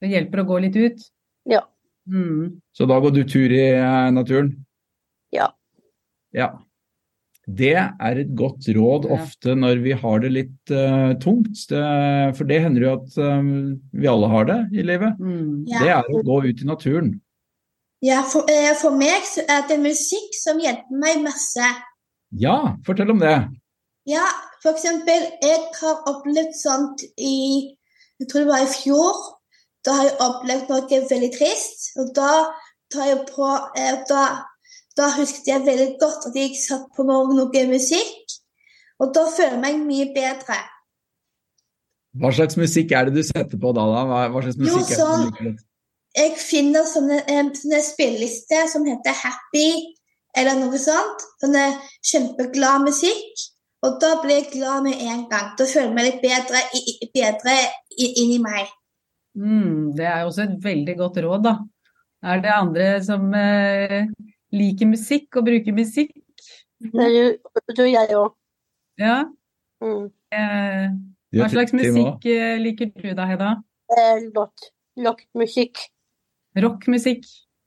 C: Det hjelper å gå litt ut.
F: Ja.
C: Mm.
B: Så da går du tur i eh, naturen?
F: Ja.
B: Ja. Det er et godt råd
C: Ja.
B: ofte når vi har det litt eh, tungt, det, for det hender jo at eh, vi alle har det i livet.
C: Mm.
E: Ja.
B: Det er å gå ut i naturen.
E: Ja, for, eh, for meg så er det musikk som hjelper meg masse.
B: Ja, fortell om det.
E: Ja, for eksempel, jeg har opplevd sånt i Jeg tror det var i fjor. Da har jeg opplevd noe veldig trist. Og da tar jeg på eh, Da, da husket jeg veldig godt at jeg satt på noe, noe musikk. Og da føler jeg meg mye bedre.
B: Hva slags musikk er det du setter på da? da? Hva, hva slags
E: Jo,
B: musikk er det du
E: sånn-
B: liker?
E: Jeg finner sånne, eh, sånne spillelister som heter Happy eller noe sånt. Sånne kjempeglad musikk. Og da blir jeg glad med en gang. Da føler jeg meg litt bedre, i, i- bedre i- inni meg.
C: Mm. Det er jo også et veldig godt råd, da. Er det andre som eh, liker musikk og bruker musikk?
F: Men du, du jeg òg.
C: Ja.
F: Mm.
C: Eh,
B: Du
C: hva
B: er
C: slags
B: Tim også.
C: musikk eh, liker du da, Hedda?
F: Eh, lott. Lottmusikk.
C: Rockmusikk?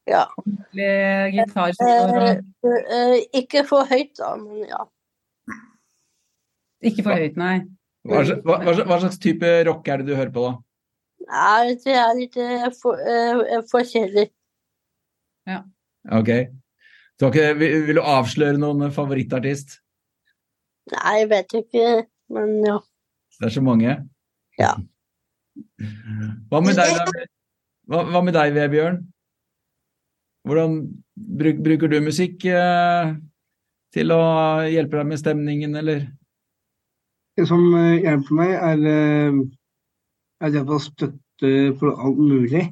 F: Ja.
C: Eller Gitarsoloer
F: Eh,
C: og
F: eh, ikke for høyt, da, men ja.
C: Ikke for høyt, nei.
B: Hva, sl- hva, hva, sl- hva slags type rock er det du hører på da?
F: Nei, det er litt eh, for, eh, forskjellig.
B: Ok. Du har ikke, vil, vil du avsløre noen favorittartist?
F: Nei, jeg vet ikke, men ja.
B: Det er så mange.
F: Ja.
B: Hva med deg, da? Hva, hva med deg, Vebjørn? Hvordan bruk, bruker du musikk eh, til å hjelpe deg med stemningen, eller?
D: Det som eh, hjelper meg, er, eh, at jeg får støtte for alt mulig.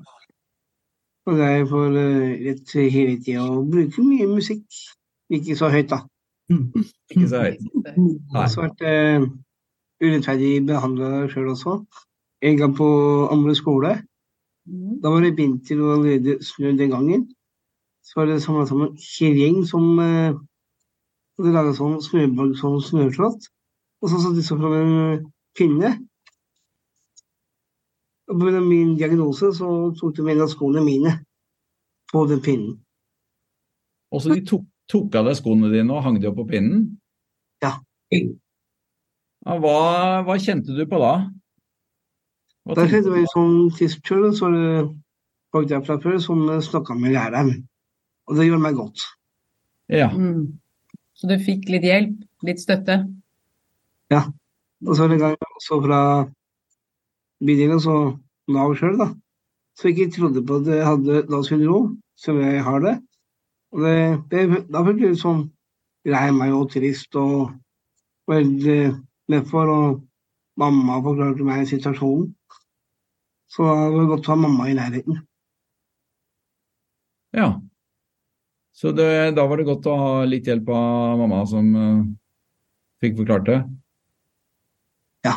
D: Og det er for eh, rett hele tida å bruke mye musikk. Ikke så høyt, da.
B: Ikke så høyt.
D: Jeg har
B: Nei.
D: også vært eh, urettferdig behandla sjøl også. En gang på andre skole.
C: Mm.
D: Da var det vinter og allerede snø den gangen. Så var det samla sammen en hel gjeng som eh, hadde laga sånn snøborg som snøslott. Og så satte de seg fram en eh, pinne. Og pga. min diagnose så tok de en av skoene mine på den pinnen.
B: Og så de tok, tok av deg skoene dine og hang de opp på pinnen?
D: Ja.
B: Ja, hva, hva kjente du på da? Hva
D: Da
B: tenkte
D: skjedde det
B: du
D: en sånn tidstur, og så var det folk der fra før som snakka med læreren. Og det gjorde meg godt.
B: Ja.
C: Mm. Så du fikk litt hjelp, litt støtte?
D: Og så er det en gang også fra bydel, altså Nav sjøl, da. Som ikke trodde på at jeg hadde Downs syndrom, som jeg har det. Og det, det da følte jeg meg sånn lei meg og trist og veldig nedfor. Og mamma forklarte meg situasjonen. Så det var godt å ha mamma i nærheten.
B: Ja. Så det, da var det godt å ha litt hjelp av mamma som eh, fikk forklart det. Ja.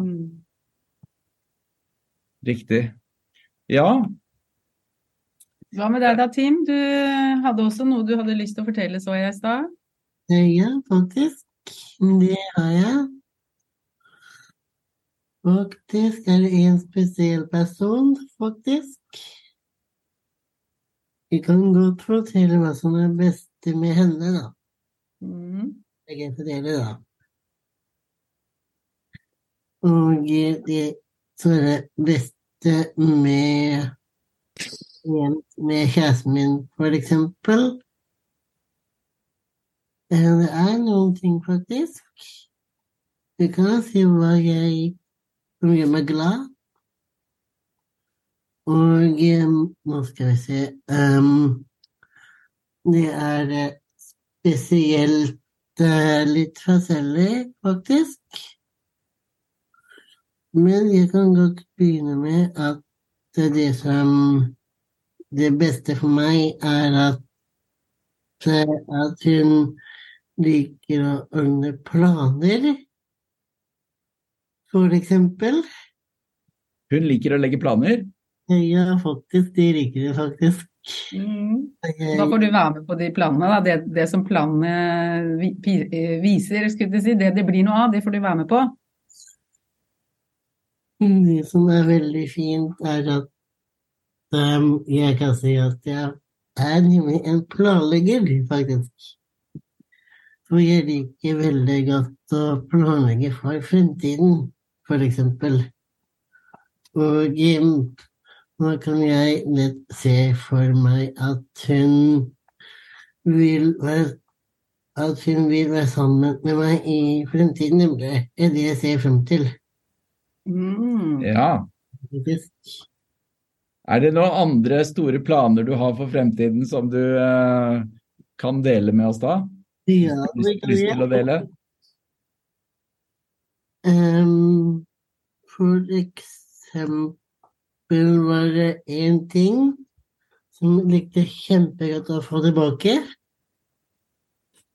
C: Mm.
B: Riktig. Ja,
C: Hva med deg da, Tim? Du hadde også noe du hadde lyst til å fortelle, så jeg i stad.
G: Ja, faktisk. Det har jeg. Faktisk er det en spesiell person, faktisk. Vi kan godt fortelle hva som er beste med henne, da.
C: Mm.
G: Begge fordeler, da. Og eh, det som er det beste med med kjæresten min, for eksempel Eh, Det er noen ting, faktisk. Du kan si hva jeg som gjør meg glad. Og eh, nå skal vi se Ehm, Det er eh, spesielt eh, litt forskjellig, faktisk. Men jeg kan godt begynne med at det, er det som Det beste for meg er at, eh, at hun liker å ordne planer, for eksempel.
B: hun liker å legge planer.
G: Ja, faktisk. De liker det faktisk.
C: Mm.
G: Jeg-
C: Da får du være med på de planene. Da. Det, det som planene vi- pi- eh, viser, skulle jeg si, det det blir noe av, det får du være med på.
G: Det Mm, som er veldig fint, er at ehm, jeg kan si at jeg er nemlig en planlegger, faktisk. For jeg liker veldig godt å planlegge for fremtiden, for eksempel. Og ehm, nå kan jeg lett se for meg at hun vil være at hun vil være sammen med meg i fremtiden, nemlig. Det er det jeg ser frem til.
C: Mm.
B: Ja.
G: faktisk.
B: Er det noen andre store planer du har for fremtiden som du eh, kan dele med oss da?
G: Ja,
B: Lyst, lyst til å dele?
G: Ehm, for eksempel var det én ting som jeg likte kjempegodt å få tilbake.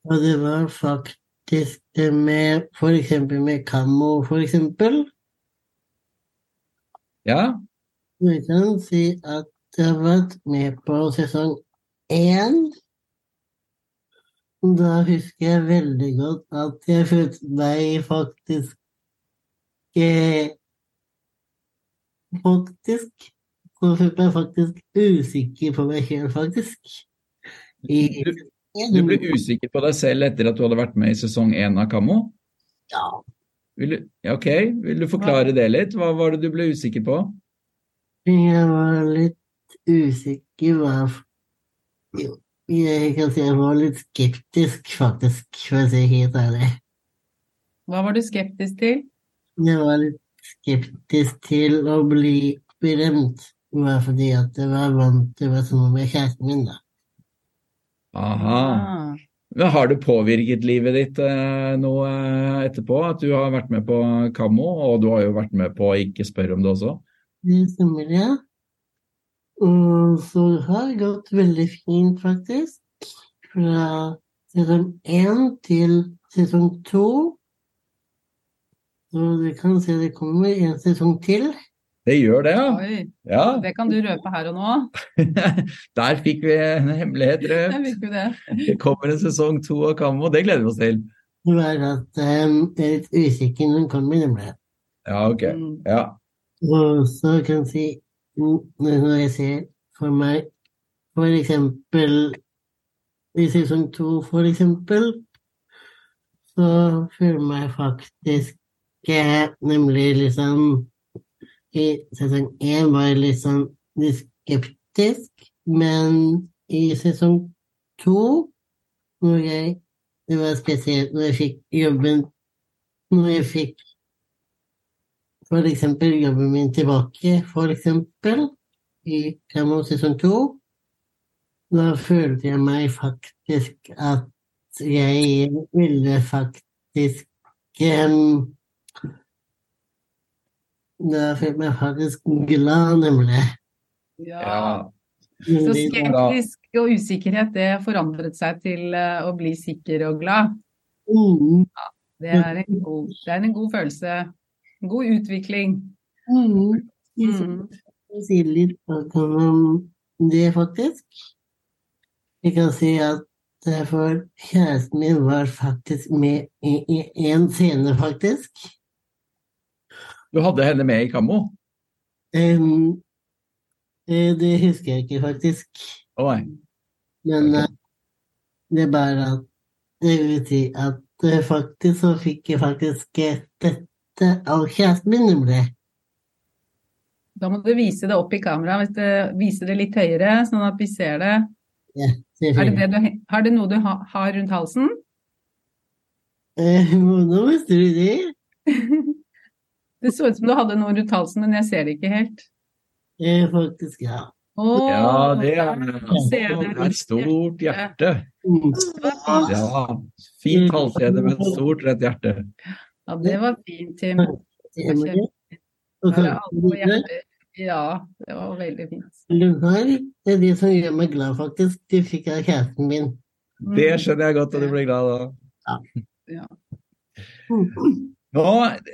G: Og det var faktisk det med for eksempel med kammo, for eksempel.
B: Ja.
G: Vi kan si at jeg har vært med på sesong én. Da husker jeg veldig godt at jeg følte meg faktisk eh, Faktisk så følte jeg meg faktisk usikker på meg selv, faktisk. I,
B: Du, du ble usikker på deg selv etter at du hadde vært med i sesong én av Kammo?
G: Ja.
B: Vil du, ja, ok, vil du forklare det litt? Hva var det du ble usikker på?
G: Jeg var litt usikker hva Jo, jeg kan si jeg var litt skeptisk, faktisk, for å si helt ærlig.
C: Hva var du skeptisk til?
G: Jeg var litt skeptisk til å bli berømt. Bare fordi at jeg var vant til å være sammen med kjæresten min, da.
B: Aha. Men har det påvirket livet ditt eh, noe eh, etterpå? At du har vært med på Kammo, og du har jo vært med på Ikke spør om det også?
G: Det stemmer, ja. Og så har det gått veldig fint, faktisk. Fra sesong én til sesong to. Så du kan se det kommer en sesong til.
B: Det gjør det, ja.
C: Ah. Oi,
B: ja.
C: det kan du røpe her og nå.
B: Der fikk vi en hemmelighet,
C: Jeg
B: Rød.
C: liker det.
B: Det kommer en sesong to av Kammo, det gleder vi oss til.
G: Det var at um, jeg er litt usikker når den kommer, nemlig.
B: Ja, ok.
C: Mm.
B: Ja.
G: Og så kan jeg si Når jeg ser for meg for eksempel i sesong to, for eksempel, så føler jeg meg faktisk eh, nemlig liksom I sesong én var jeg litt sånn litt skeptisk, men i sesong to, når jeg Det var spesielt når jeg fikk jobben Når jeg fikk For eksempel jobben min tilbake, for eksempel, i Kamo sesong to. Da følte jeg meg faktisk at jeg ville faktisk em, Da følte jeg meg faktisk glad, nemlig.
B: Ja.
C: Så
G: Veldig-
C: skeptisk og usikkerhet, det forandret seg til eh, å bli sikker og glad.
G: Mm,
C: Det er en god, det er en god følelse. En god utvikling.
G: mm. Jeg
C: Mm.
G: sier litt bak om det, faktisk. Jeg kan si at eh, for kjæresten min var faktisk med i, i en scene, faktisk.
B: Du hadde henne med i Kammo?
G: Em, eh, det husker jeg ikke, faktisk.
B: Oi.
G: Men eh, det er bare at Det vil si at eh, faktisk så fikk jeg faktisk eh, dette av kjæresten min, nemlig.
C: Da må du vise det opp i kamera, hvis det- vise det litt høyere, sånn at vi ser det. Er
B: Mm.
C: det, det du, he- har det noe du ha, har rundt halsen?
G: Eh, Nå visste du det.
C: Det så ut som du hadde noe rundt halsen, men jeg ser det ikke helt.
G: Eh, Faktisk, ja.
C: Åh,
B: Ja, det er, det
C: ser det.
B: er et stort hjerte.
G: Mm.
B: Ja. Fint halskjede med et stort, rødt hjerte.
C: Ja, det var fint, Tim.
G: Emily. Og
C: Da er det
G: så-
C: alle på hjertet. Ja, det var veldig fint.
G: Lunar det er de som gjør meg glad, faktisk. De fikk jeg av kjæresten min.
C: Mm.
B: Det skjønner jeg godt at du blir glad av. Nå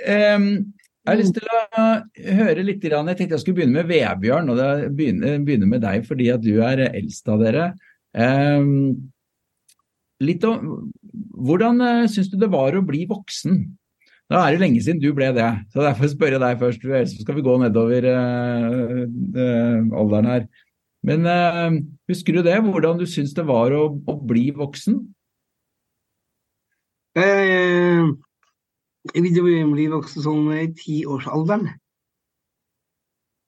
B: em, jeg har lyst til å høre litt. grann. Jeg tenkte jeg skulle begynne med Vebjørn, og det begynner, begynner med deg fordi at du er eldst av dere. Em, litt om Hvordan eh, syns du det var å bli voksen? Da er det lenge siden du ble det, så derfor spør jeg deg først. Ellers skal vi gå nedover eh, eh, alderen her. Men eh, husker du det? Hvordan du syns det var å, å bli voksen?
D: Jeg, jeg begynte å bli voksen sånn i tiårsalderen.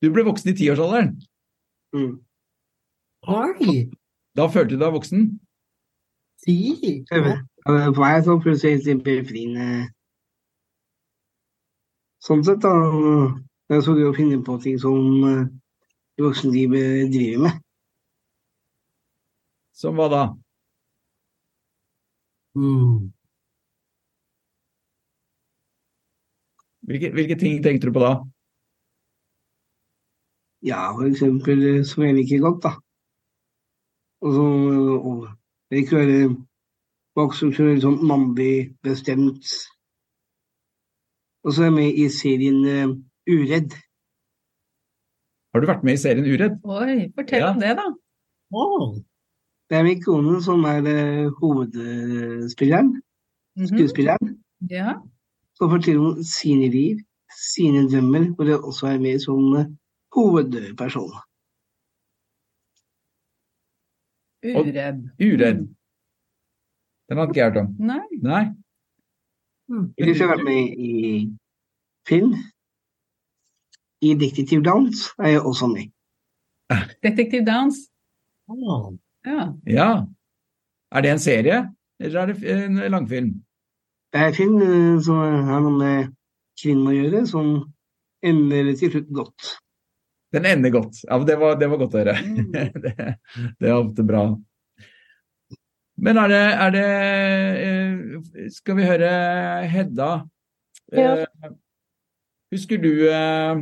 B: Du ble voksen i tiårsalderen.
D: Mm.
G: Oi!
B: Da følte du deg voksen?
G: Si!
D: Jeg vet. Og det var jeg sånn plutselig litt befriende. Sånn sett, da. Jeg så det å finne på ting som eh, voksenlivet driver med.
B: Som hva da?
G: Mm.
B: Hvilke, hvilke ting tenkte du på da?
D: Ja, for eksempel eh, som jeg liker godt, da. Og så eh, og jeg liker å være voksen som en sånn mannlig bestemt. Og så er jeg med i serien eh, Uredd.
B: Har du vært med i serien Uredd?
C: Oi, fortell
B: Ja.
C: om det, da.
G: Å,
D: Det er min kone som er eh, hovedspilleren,
C: Mhm.
D: skuespilleren.
C: Ja.
D: Som forteller om sine liv, sine drømmer, hvor jeg også er med som eh, hovedperson.
B: Og-
C: Uredd.
B: Uredd. Den har ikke jeg hørt om.
C: Nei.
B: Nei?
D: Ellers har Mm. jeg vært med i film. I Detektiv Downs er jeg også med.
C: Detektiv Downs.
G: å.
C: Ja.
B: Ja. Er det en serie, eller er det en langfilm?
D: Det er en film eh, som har noe med kvinner å gjøre, som ender til slutt godt.
B: Den ender godt. Ja, men det var, det var godt å høre.
C: Mm.
B: det, det er ofte bra. Men er det, er det eh, Skal vi høre Hedda?
F: Ja.
B: Eh, Husker du eh,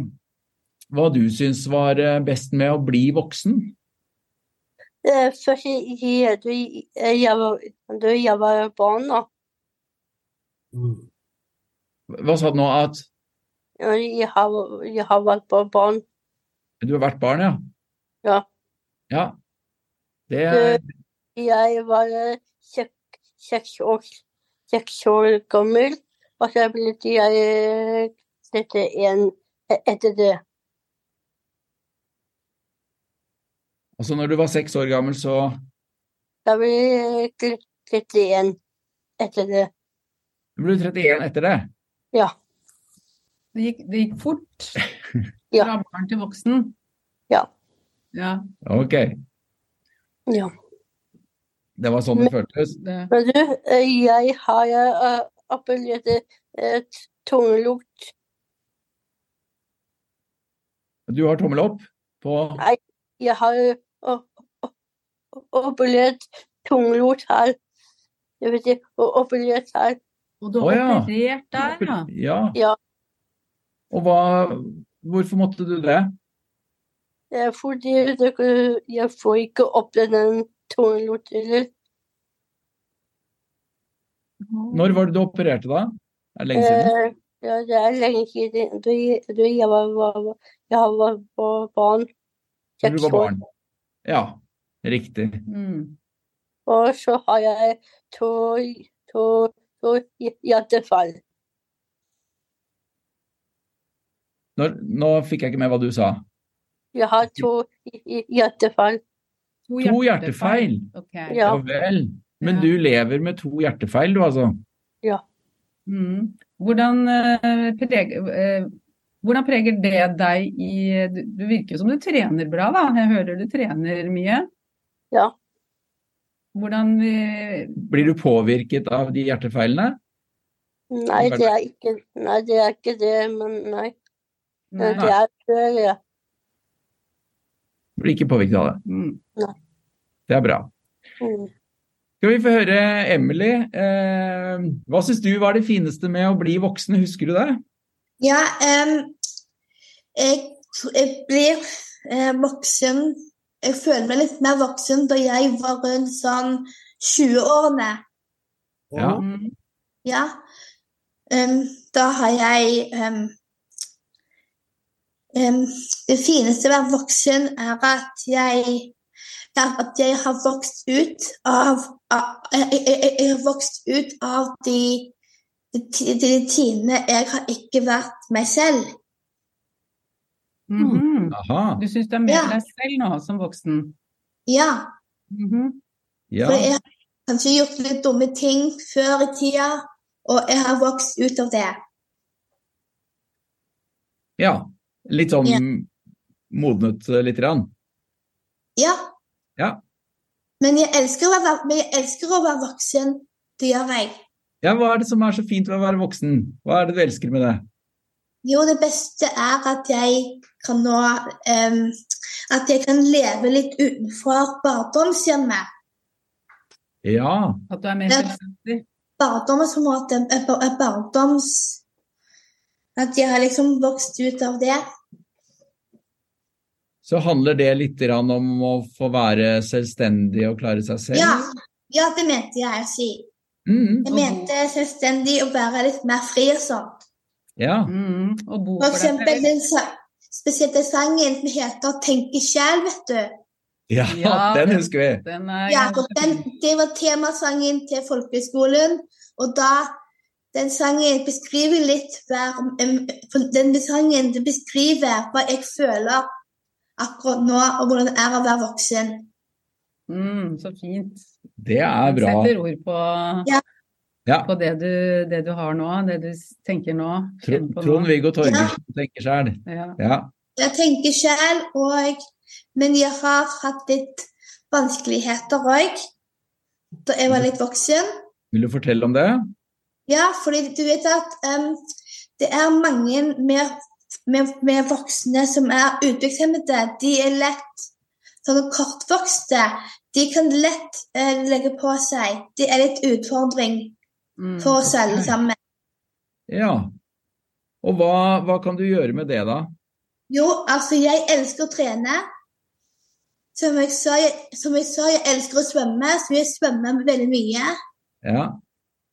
B: hva du syns var eh, best med å bli voksen?
F: Eh, Først i- i- da jeg var, da jeg var barn, da.
G: Mm.
B: Hva sa du nå? At
F: Ja, Jeg har, jeg har vært bare barn.
B: du har vært barn, ja?
F: Ja.
B: Ja. Det
F: Det- Jeg var eh, sek- seks år, seks år gammel, og så ble jeg eh, 31 e- etter det.
B: Altså, når du var seks år gammel, så
F: Da ble jeg tre- 31 etter det.
B: Du ble 31 etter det?
C: Det gikk, det gikk fort.
F: Ja.
C: Fra barn til voksen.
F: Ja.
C: Ja,
B: Ok.
F: Ja.
B: Det var sånn det føltes?
C: det.
F: Men du, eh, jeg har eh, appellert eh, t- tungelukt.
B: Du har tommel opp på
F: Jeg har jo o- o- o- opplevd tunglot her. Det vil si o- opplevd her.
C: Og du har
B: Å, ja.
C: operert der, ja.
B: Ja.
F: Ja.
B: Og hva Hvorfor måtte du det?
F: Det er fordi dere- jeg får ikke opplevd den tungeloten.
B: Når var det du opererte, da? Er det lenge siden?
F: Eh, ja, det er lenge siden. Da jeg da jeg var, var, jeg var, var barn.
B: Når du
F: Seks
B: var
F: år.
B: barn? Ja, riktig.
C: Mm.
F: Og så har jeg to, to, to hjertefall.
B: Når, nå fikk jeg ikke med hva du sa.
F: Jeg har to hjertefall.
B: To hjertefeil.
C: Ok.
F: Ja.
B: Ja vel. Men
C: Ja.
B: du lever med to hjertefeil, du altså?
C: Mm. Hvordan, eh, preger, eh, hvordan preger det deg i du, du virker jo som du trener bra, da. Jeg hører du trener mye.
F: Ja.
C: Hvordan eh,
B: Blir du påvirket av de hjertefeilene?
F: Nei, det er ikke, nei, det er ikke det, men nei.
C: Nei.
F: Det er før, ja.
B: Blir ikke påvirket av det.
C: Mm.
B: Det er bra.
F: Mm.
B: Skal vi få høre Emily. Eh, hva syns du var det fineste med å bli voksen, husker du det?
E: Ja, em, jeg, jeg blir eh, voksen Jeg føler meg litt mer voksen da jeg var rundt sånn 20-årene.
B: Ja.
C: Mm.
E: Ja. Em, da har jeg em, em, Det fineste ved å være voksen er at jeg er at jeg har vokst ut av, av jeg, jeg, jeg, jeg har vokst ut av de, de, ti- de tidene jeg har ikke vært meg selv.
C: Mhm.
B: Aha.
C: Du syns du er mer
E: Ja.
C: deg selv nå som voksen?
E: Ja.
C: Mhm.
B: Ja.
E: For jeg har kanskje gjort litt dumme ting før i tida, og jeg har vokst ut av det.
B: ja. Litt sånn
E: Ja.
B: modnet eh, lite grann.
E: Ja.
B: Ja.
E: Men jeg elsker å være, men jeg elsker å være voksen. Det gjør jeg.
B: Ja, hva er det som er så fint ved å være voksen? Hva er det du elsker med det?
E: Jo, det beste er at jeg kan nå em, At jeg kan leve litt utenfor barndomshjemmet.
B: Ja.
C: At du er mer
E: Ja.
C: selvstendig?
E: Barndommens på en måte eh, bar- eh, barndoms... At jeg har liksom vokst ut av det.
B: Så handler det litt grann om å få være selvstendig og klare seg selv?
E: Ja, ja det mente jeg å si.
B: Mm,
E: Jeg mente selvstendig å være litt mer fri og sånn.
B: ja.
C: Mhm. Og bo for
E: For
C: deg
E: eksempel
C: selv?
E: den sa- spesielt den sangen som heter 'Tenke sjæl', vet du.
B: ja,
C: Ja,
B: den
C: den-
B: husker vi.
C: Den er,
E: Ja, og den, det var temasangen til folkehøgskolen. Og da den sangen beskriver litt hver em, for Den sangen beskriver hva jeg føler akkurat nå, og hvordan det er å være voksen.
C: Mm, så fint.
B: Det er
C: Den
B: bra.
C: Setter ord på
B: Ja.
C: på det du, det du har nå, det du s- tenker nå.
B: Tro-
C: kjenner på nå.
B: Trond-Viggo Torgersen tenker sjæl.
C: Ja.
B: Ja.
E: Jeg tenker sjæl, og Men jeg har hatt litt vanskeligheter òg da jeg var litt voksen.
B: Vil du fortelle om det?
E: Ja, fordi du vet at em, det er mange med, med, med voksne som er utviklingshemmede. De er lett sånne kortvokste. De kan lett eh, legge på seg. Det er litt utfordring
C: Mm.
E: for oss alle
B: Ok.
E: sammen.
B: Ja. Og hva, hva kan du gjøre med det, da?
E: Jo, altså, jeg elsker å trene. Som jeg sa, jeg, som jeg, sa, jeg elsker å svømme, så jeg svømmer veldig mye.
B: Ja.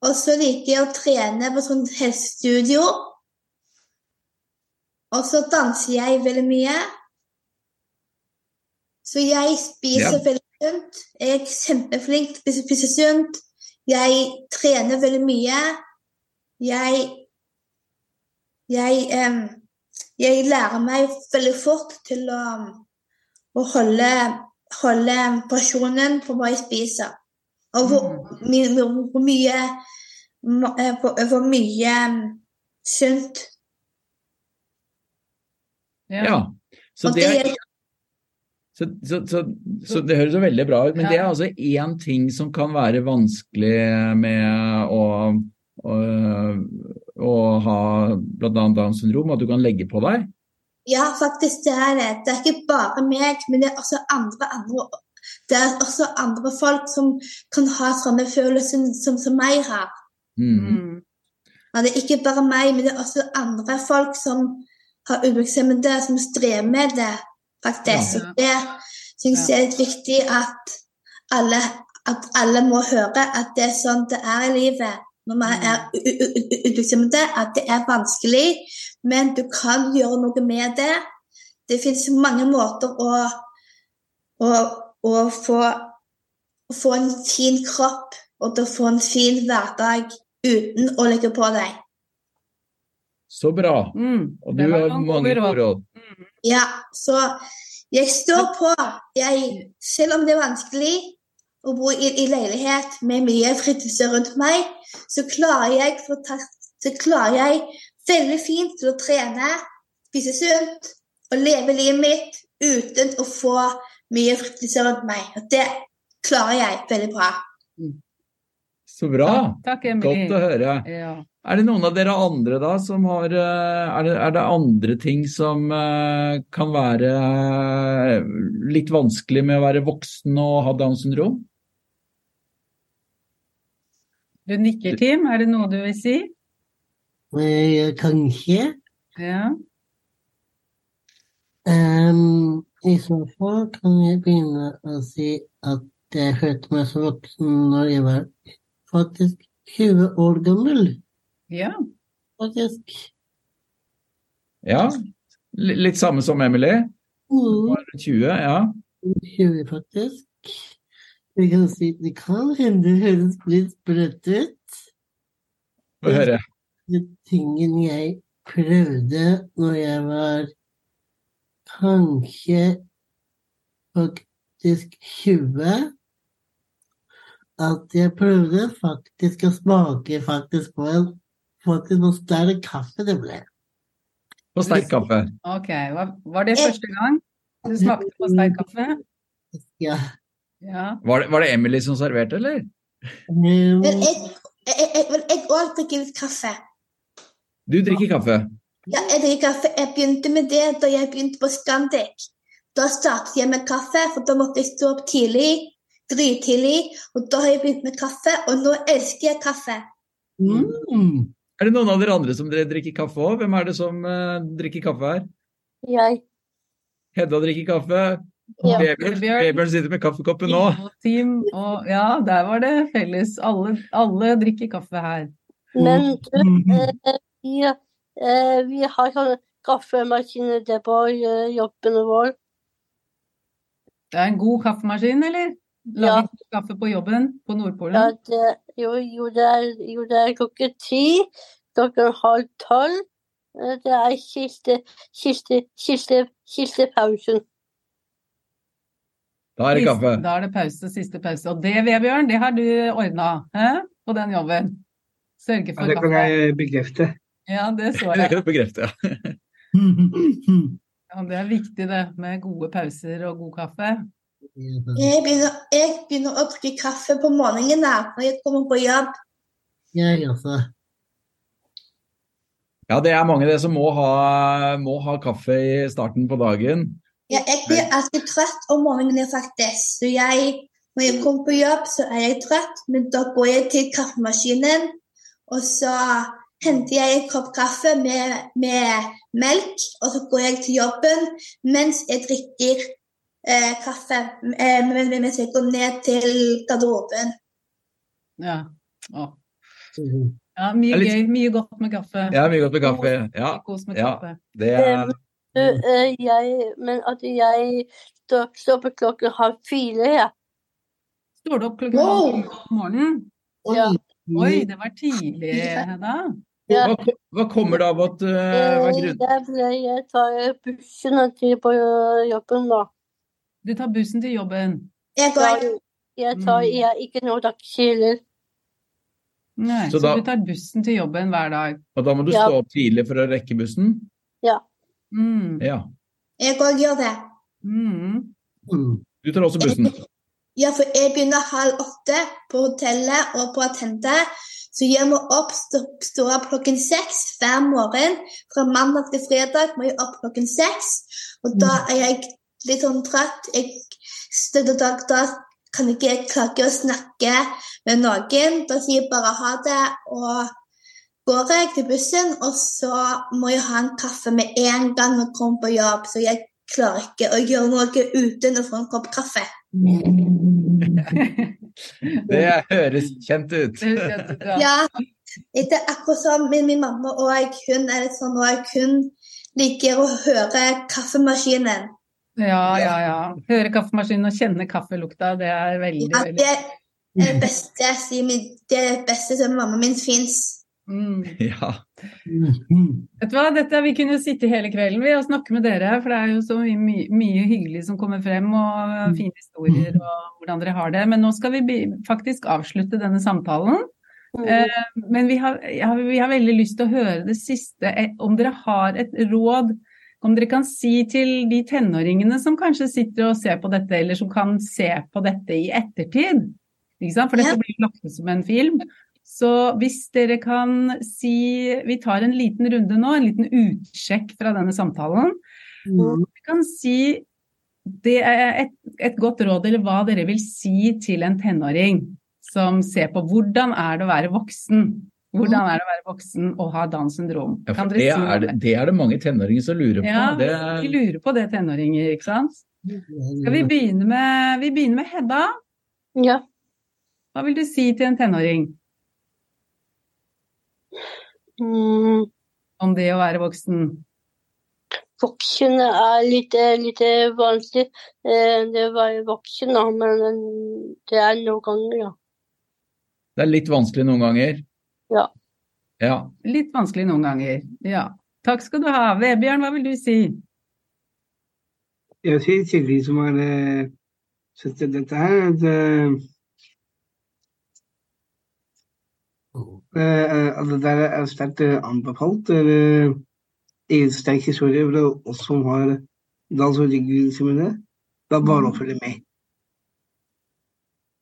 E: Og så liker jeg å trene på sånn helsestudio. Og så danser jeg veldig mye. Så jeg spiser
B: Ja.
E: veldig sunt. Jeg er kjempeflink til å spise- spise sunt. Jeg trener veldig mye. Jeg jeg, em, jeg lærer meg veldig fort til å, å holde, holde porsjonen på hva jeg spiser. Og hvor,
B: Mm.
E: my- hvor- hvor mye ma- eh, hvor, hvor mye em, sunt.
C: Ja.
B: ja. Så,
E: Og
B: det er,
E: det-
B: så, så, så, så det høres jo veldig bra ut, men det er altså én ting som kan være vanskelig med å, å, å ha bl.a. Downs syndrom, at du kan legge på deg.
E: Ja, faktisk det er det. Det er ikke bare meg, men det er også andre, andre det er også andre folk som kan ha sånne følelser som, som meg har.
B: Mm.
C: Mm.
E: Ja, det er ikke bare meg, men det er også andre folk som har utviklingshemmede, som strever med det, faktisk.
C: Ja.
E: Så Det syns jeg er viktig at alle, at alle må høre at det er sånn det er i livet når man er u- u- u- utviklingshemmede, at det er vanskelig, men du kan gjøre noe med det. Det fins mange måter å, å, å få, få en fin kropp og til å få en fin hverdag uten å legge på deg.
B: Så bra.
C: Mm.
B: Og
C: Det
B: du
C: var
B: har
C: noen
B: mange
C: gode
B: gode råd.
E: Ja, så jeg står på. Jeg, selv om det er vanskelig å bo i, i leilighet med mye fritidser rundt meg, så klarer jeg, for ta- så klarer jeg veldig fint til å trene, spise sunt og leve livet mitt uten å få mye fritidser rundt meg. Og det klarer jeg veldig bra.
B: Så bra.
C: Takk,
B: Godt å
C: Emily.
B: høre.
C: Ja.
B: Er det noen av dere andre da som har eh, Er det, er det andre ting som eh, kan være eh, litt vanskelig med å være voksen og ha Downs syndrom?
C: Du nikker, Tim. Er det noe du vil si?
G: Eh, Kanskje.
C: Ja.
G: Ehm, I så fall kan jeg begynne å si at jeg følte meg så voksen når jeg var faktisk 20 år gammel.
C: ja.
G: Faktisk.
B: Ja. L litt samme som Emily.
G: Mm,
B: Var 20, ja.
G: 20, faktisk. Det kan, si, det kan hende det høres litt sprøtt ut.
B: Få høre.
G: De tingene jeg prøvde når jeg var kanskje faktisk 20 At jeg prøvde faktisk å smake faktisk på en faktisk noe større kaffe det ble.
B: På sterk kaffe.
C: Ok. Hva- Var det første gang du smakte på sterk kaffe?
G: Ja.
C: Ja.
B: Var det, var det Emily som serverte, eller?
G: Um,
E: Men jeg òg drikker litt kaffe.
B: Du drikker kaffe.
E: Ja, jeg drikker kaffe. Jeg begynte med det da jeg begynte på Scandic. Da startet jeg med kaffe, for da måtte jeg stå opp tidlig, grytidlig, og da har jeg begynt med kaffe, og nå elsker jeg kaffe.
G: mm,
B: Er det noen av dere andre som dere drikker kaffe òg? Hvem er det som eh, drikker kaffe her?
F: Jeg.
B: Hedda drikker kaffe.
F: Ja.
B: Vebjørn
C: Vebjørn.
B: Vebjørn sitter med kaffekoppen nå.
C: Og Tim og Ja, der var det felles. Alle, alle drikker kaffe her.
F: Men
C: Mm.
F: du,
C: Mm-hmm.
F: eh, vi, eh, vi har sånne kaffemaskiner der på eh, jobben vår.
C: Det er en god kaffemaskin, eller?
F: Ja.
C: Lager du kaffe på jobben på
F: Ja,
C: Nordpolen?
F: det, jo, jo, det er, jo, det er klokken ti, klokken halv tolv. Eh, Det er siste, siste, siste, siste pausen.
B: Da er det kaffe.
C: Da er det pause, siste pause. Og det, Vebjørn, det har du ordna hæ? på den jobben. Sørge
D: Ja,
C: for
D: det kan
C: kaffe.
D: jeg bekrefte.
C: Ja, det så
B: Det
C: jeg.
B: kan du bekrefte. ja.
C: Ja, det er viktig det, med gode pauser og god kaffe.
E: Jeg begynner, jeg begynner å drikke kaffe på morgenen da, når jeg kommer på jobb.
G: Jeg også.
B: Ja, det er mange det som må ha, må ha kaffe i starten på dagen.
E: Ja, jeg blir alltid trøtt om morgenen, faktisk. Så jeg, når jeg kommer på jobb, så er jeg trøtt, men da går jeg til kaffemaskinen, og så henter jeg en kopp kaffe med, med melk, og så går jeg til jobben mens jeg drikker eh, kaffe, eh, men- men- mens jeg går ned til garderoben.
C: Ja. Å.
G: Mm.
C: ja mye
B: Det er litt-
C: gøy, mye godt med kaffe.
B: Ja, mye godt med kaffe. Ja,
C: Kos med
B: ja.
C: kaffe.
B: det er
F: Du,
C: Mm.
F: eh, jeg, men at jeg står, står på klokken halv fire, ja.
C: Står du opp klokken
E: Wow!
C: halv fire om morgenen?
F: Ja.
C: Oi, det var tidlig, Hedda.
F: Ja.
B: hva, hva kommer det av at eh, hva er
F: Eh,
B: grunnen?
F: Jeg, ble- jeg tar bussen og driver på eh, jobben nå.
C: Du tar bussen til jobben.
E: Jeg går,
F: Jeg, jeg tar
C: Mm.
F: jeg, ikke noe taxi heller.
C: Nei,
B: Så
C: så,
B: da-
C: du tar bussen til jobben hver dag.
B: Og da må du
F: Ja.
B: stå opp tidlig for å rekke bussen?
C: Mm.
B: Ja.
E: jeg går og gjør det.
C: Mm.
G: Mm.
B: Du tar også bussen?
E: Ja, for jeg begynner halv åtte på hotellet og på Atente. Så jeg må opp, stå, stå opp klokken seks hver morgen. Fra mandag til fredag må jeg opp klokken seks. Og da er jeg litt sånn trøtt. Jeg, så da, da, da kan ikke jeg klage og snakke med noen. Da sier jeg bare ha det, og går jeg til bussen, og så må jeg ha en kaffe med en gang når jeg kommer på jobb. Så jeg klarer ikke å gjøre noe uten å få en kopp kaffe.
B: Det høres kjent ut.
C: Det husker jeg at du-
E: Ja, det er akkurat som min, min mamma og hun er litt sånn og hun liker å høre kaffemaskinen.
C: Ja, ja, ja. Høre kaffemaskinen og kjenne kaffelukta, det er veldig,
E: Ja,
C: veldig
E: det er det beste, sier min, det er det beste som mammaen min fins.
C: mm.
B: Ja.
C: Vet du hva, dette, Vi kunne jo sitte hele kvelden vi og snakke med dere, for det er jo så mye, mye, mye hyggelig som kommer frem, og fine historier og hvordan dere har det. Men nå skal vi be- faktisk avslutte denne samtalen. Eh, Men vi har, jeg har, vi har veldig lyst til å høre det siste, eh, om dere har et råd om dere kan si til de tenåringene som kanskje sitter og ser på dette, eller som kan se på dette i ettertid. Ikke sant? For
E: Ja.
C: dette blir jo lagt ut som en film. Så hvis dere kan si Vi tar en liten runde nå, en liten utsjekk fra denne samtalen. Vi kan si det er et, et godt råd, eller hva dere vil si til en tenåring som ser på hvordan er det å være voksen. Hvordan er det å være voksen og ha Downs syndrom?
B: Ja, for
C: Kan dere
B: det,
C: si noe om
B: er det, det er det mange tenåringer som lurer på.
C: Ja,
B: Det,
C: vi lurer på det, tenåringer. ikke sant? Skal
B: Mm.
C: vi begynne med, vi begynner med Hedda?
F: Ja.
C: Hva vil du si til en tenåring
F: Mm.
C: om det å være voksen?
F: Voksen er litt, eh, litt eh, vanskelig. eh, Det å være voksen, da, men eh, det er noen ganger, ja.
B: det er litt vanskelig noen ganger.
F: Ja.
B: Ja.
C: Litt vanskelig noen ganger. Ja. Takk skal du ha. Vebjørn, hva vil du si?
D: Jeg sier til de som har eh, sett dette her, at eh, eh, at det der er sterkt eh, anbefalt. Det er eh, en sterk historie for oss som har dans og ryggdysmene. Det er bare å følge med.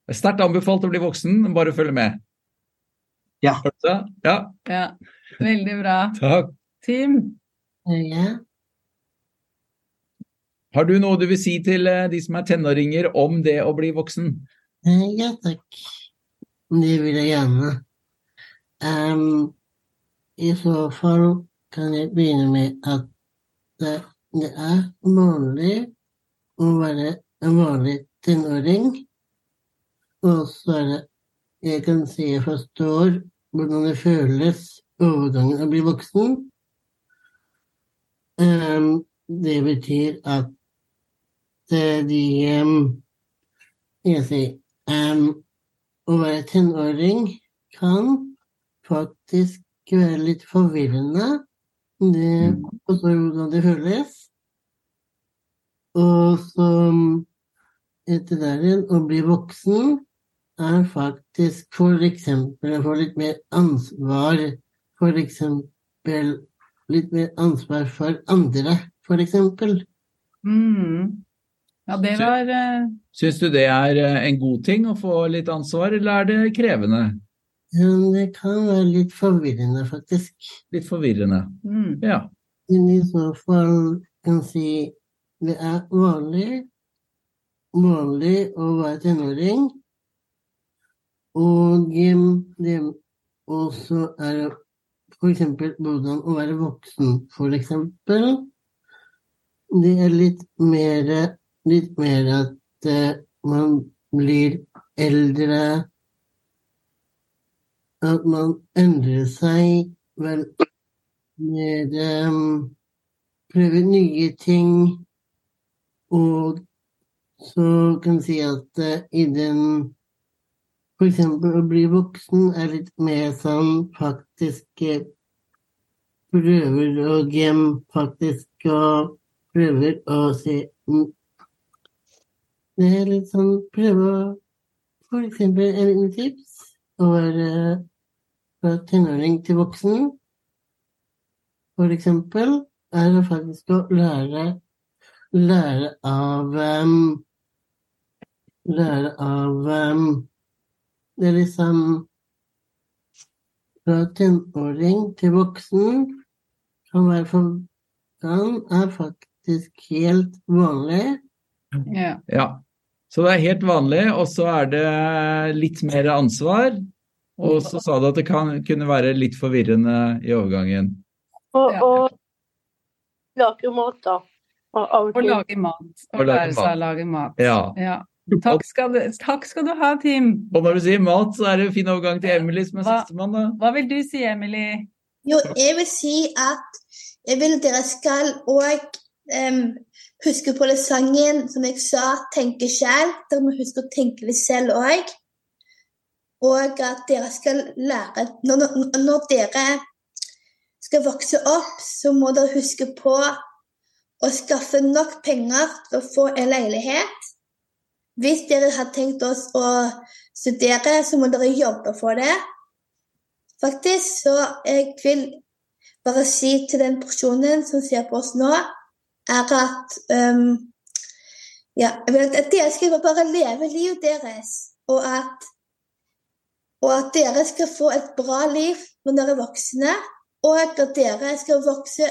B: Det er Sterkt anbefalt å bli voksen, bare følg med.
D: Ja.
B: Hørte du det? Ja,
C: Ja, Veldig bra.
B: takk.
C: Tim?
G: Ja.
B: Har du noe du vil si til eh, de som er tenåringer om det å bli voksen?
G: Eh, Ja takk. Det vil jeg gjerne. Ehm, I så fall kan jeg begynne med at det, det er vanlig å være en vanlig tenåring. Og så er det Jeg kan si jeg forstår hvordan det føles overgangen å bli voksen. Ehm, det betyr at eh, de ehm, jeg sier, ehm, å være tenåring kan faktisk være litt forvirrende. Det forstår hvordan det føles. Og så etter der igjen, å bli voksen er faktisk for eksempel å få litt mer ansvar. For eksempel litt mer ansvar for andre, for eksempel.
C: Mm. Ja, det var eh,
B: Syns du det er eh, en god ting å få litt ansvar, eller er det krevende?
G: Men det kan være litt forvirrende, faktisk.
B: Litt forvirrende.
C: mm.
B: Ja.
G: Men i så fall kan jeg si det er vanlig, vanlig å være tenåring. Og em, det også er for eksempel hvordan å være voksen, for eksempel. Det er litt mer, litt mer at eh, man blir eldre. At man endrer seg vel med um, prøve nye ting. Og så kan vi si at eh, i den For eksempel å bli voksen er litt mer sånn faktisk eh, prøver og em, faktisk og prøver å se mm. Det er litt sånn prøve å For eksempel en liten tips å være fra tenåring til voksen for eksempel, er det faktisk å lære, lære av ehm, em, ehm, Lære av em, Det er liksom fra tenåring til voksen kan være forstand, er faktisk helt vanlig.
C: Ja.
B: Ja. Så det er helt vanlig, og så er det eh, litt mer ansvar. Og så sa du at det kan, kunne være litt forvirrende i overgangen.
F: Og,
C: Ja.
F: og lage mat, da. Og av og
C: Å
F: til.
C: lage mat. Å
B: Og lage
C: lære seg
B: mat.
C: å lage mat.
B: Ja.
C: Ja. Takk, skal du, takk skal du ha, Tim.
B: Og når du sier mat, så er det jo fin overgang til Emily som er
C: Hva-
B: sistemann, da.
C: Hva vil du si, Emily?
E: Jo, jeg vil si at jeg vil dere skal òg huske på den sangen som jeg sa, 'Tenke selv'. Dere må huske å tenke litt selv òg. Og at dere skal lære når, når- når dere skal vokse opp, så må dere huske på å skaffe nok penger til å få en leilighet. Hvis dere har tenkt oss å studere, så må dere jobbe for det. Faktisk så jeg vil bare si til den personen som ser på oss nå, er at øhm, ja, jeg vil at dere skal bare leve livet deres, og at, og at dere skal få et bra liv når dere er voksne, og at dere skal vokse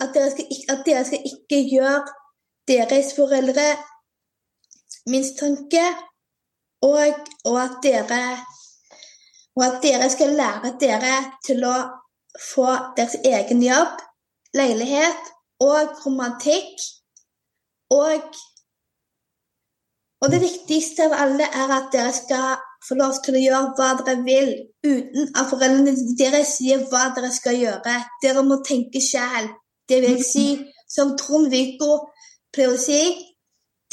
E: at dere skal, ikk- at dere skal ikke gjøre deres foreldre mistanke, og, og at dere og at dere skal lære dere til å få deres egen jobb, leilighet og romantikk. Og, og det viktigste av alle er at dere skal få lov til å gjøre hva dere vil, uten at foreldrene deres sier hva dere skal gjøre. Dere må tenke selv. Det vil jeg si, som Trond-Viggo pleier å si,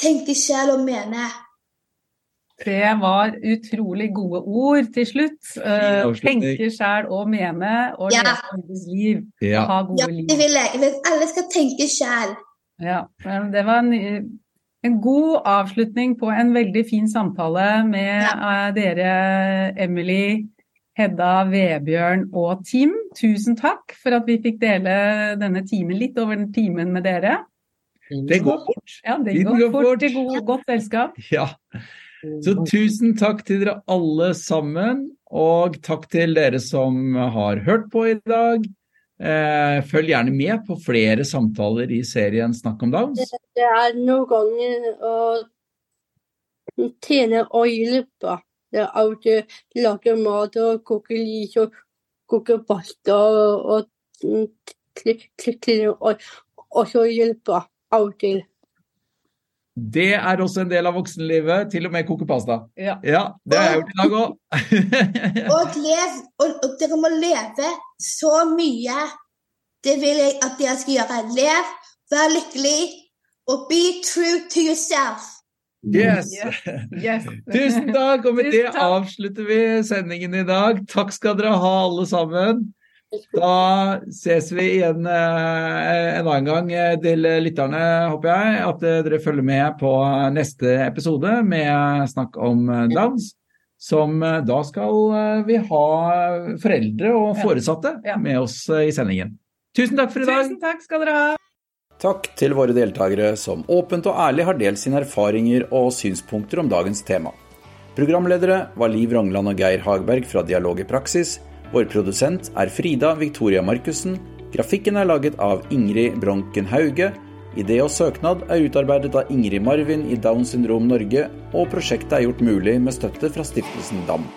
E: tenke selv og mene.
C: Det var utrolig gode ord til slutt. Eh,
B: avslutning.
C: Tenke sjæl og mene, og
E: Ja.
C: leve andres liv.
B: Ja.
C: Ha
E: Ja,
C: gode
E: det
C: liv.
E: vil jeg. Jeg vil at alle skal tenke selv.
C: Ja. men Det var en, en god avslutning på en veldig fin samtale med eh, dere, Emily, Hedda, Vebjørn og Tim. Tusen takk for at vi fikk dele denne timen litt over den timen med dere.
B: Det går fort.
C: Ja, det
B: Tiden
C: går
B: går fort.
C: fort i god, godt selskap.
B: Ja. Så tusen takk til dere alle sammen, og takk til dere som har hørt på i dag. Eh, Følg gjerne med på flere samtaler i serien Snakk om Downs.
F: Det er noen ganger å tjene og hjelpe. Det er av det lage mat og koke lys og koke pasta og mm, klikke og, og så hjelpe av og til.
B: Det er også en del av voksenlivet, til og med koke pasta.
C: Ja.
B: det har jeg gjort i dag òg.
E: Og, lev, og, og dere må leve så mye. Det vil jeg at dere skal gjøre. Lev, vær lykkelig, og be true to yourself.
B: Yes.
C: Yes.
B: Tusen takk, og med
C: Tusen
B: det
C: takk.
B: avslutter vi sendingen i dag. Takk skal dere ha, alle sammen. Da ses vi igjen eh, en annen gang eh, til lytterne, håper jeg. At eh, dere følger med på neste episode med snakk om eh, dans. Som eh, da skal eh, vi ha foreldre og
C: Ja.
B: foresatte
C: Ja.
B: med oss eh, i sendingen. Tusen takk for i dag.
C: Tusen takk skal dere ha.
B: Takk til våre deltakere som åpent og ærlig har delt sine erfaringer og synspunkter om dagens tema. Programledere var Liv Rongland og Geir Hagberg fra Dialog i praksis. Vår produsent er Frida Victoria Markussen. Grafikken er laget av Ingrid Bronken Hauge. Idé og søknad er utarbeidet av Ingrid Marvin i Downs syndrom Norge, og prosjektet er gjort mulig med støtte fra stiftelsen DAM.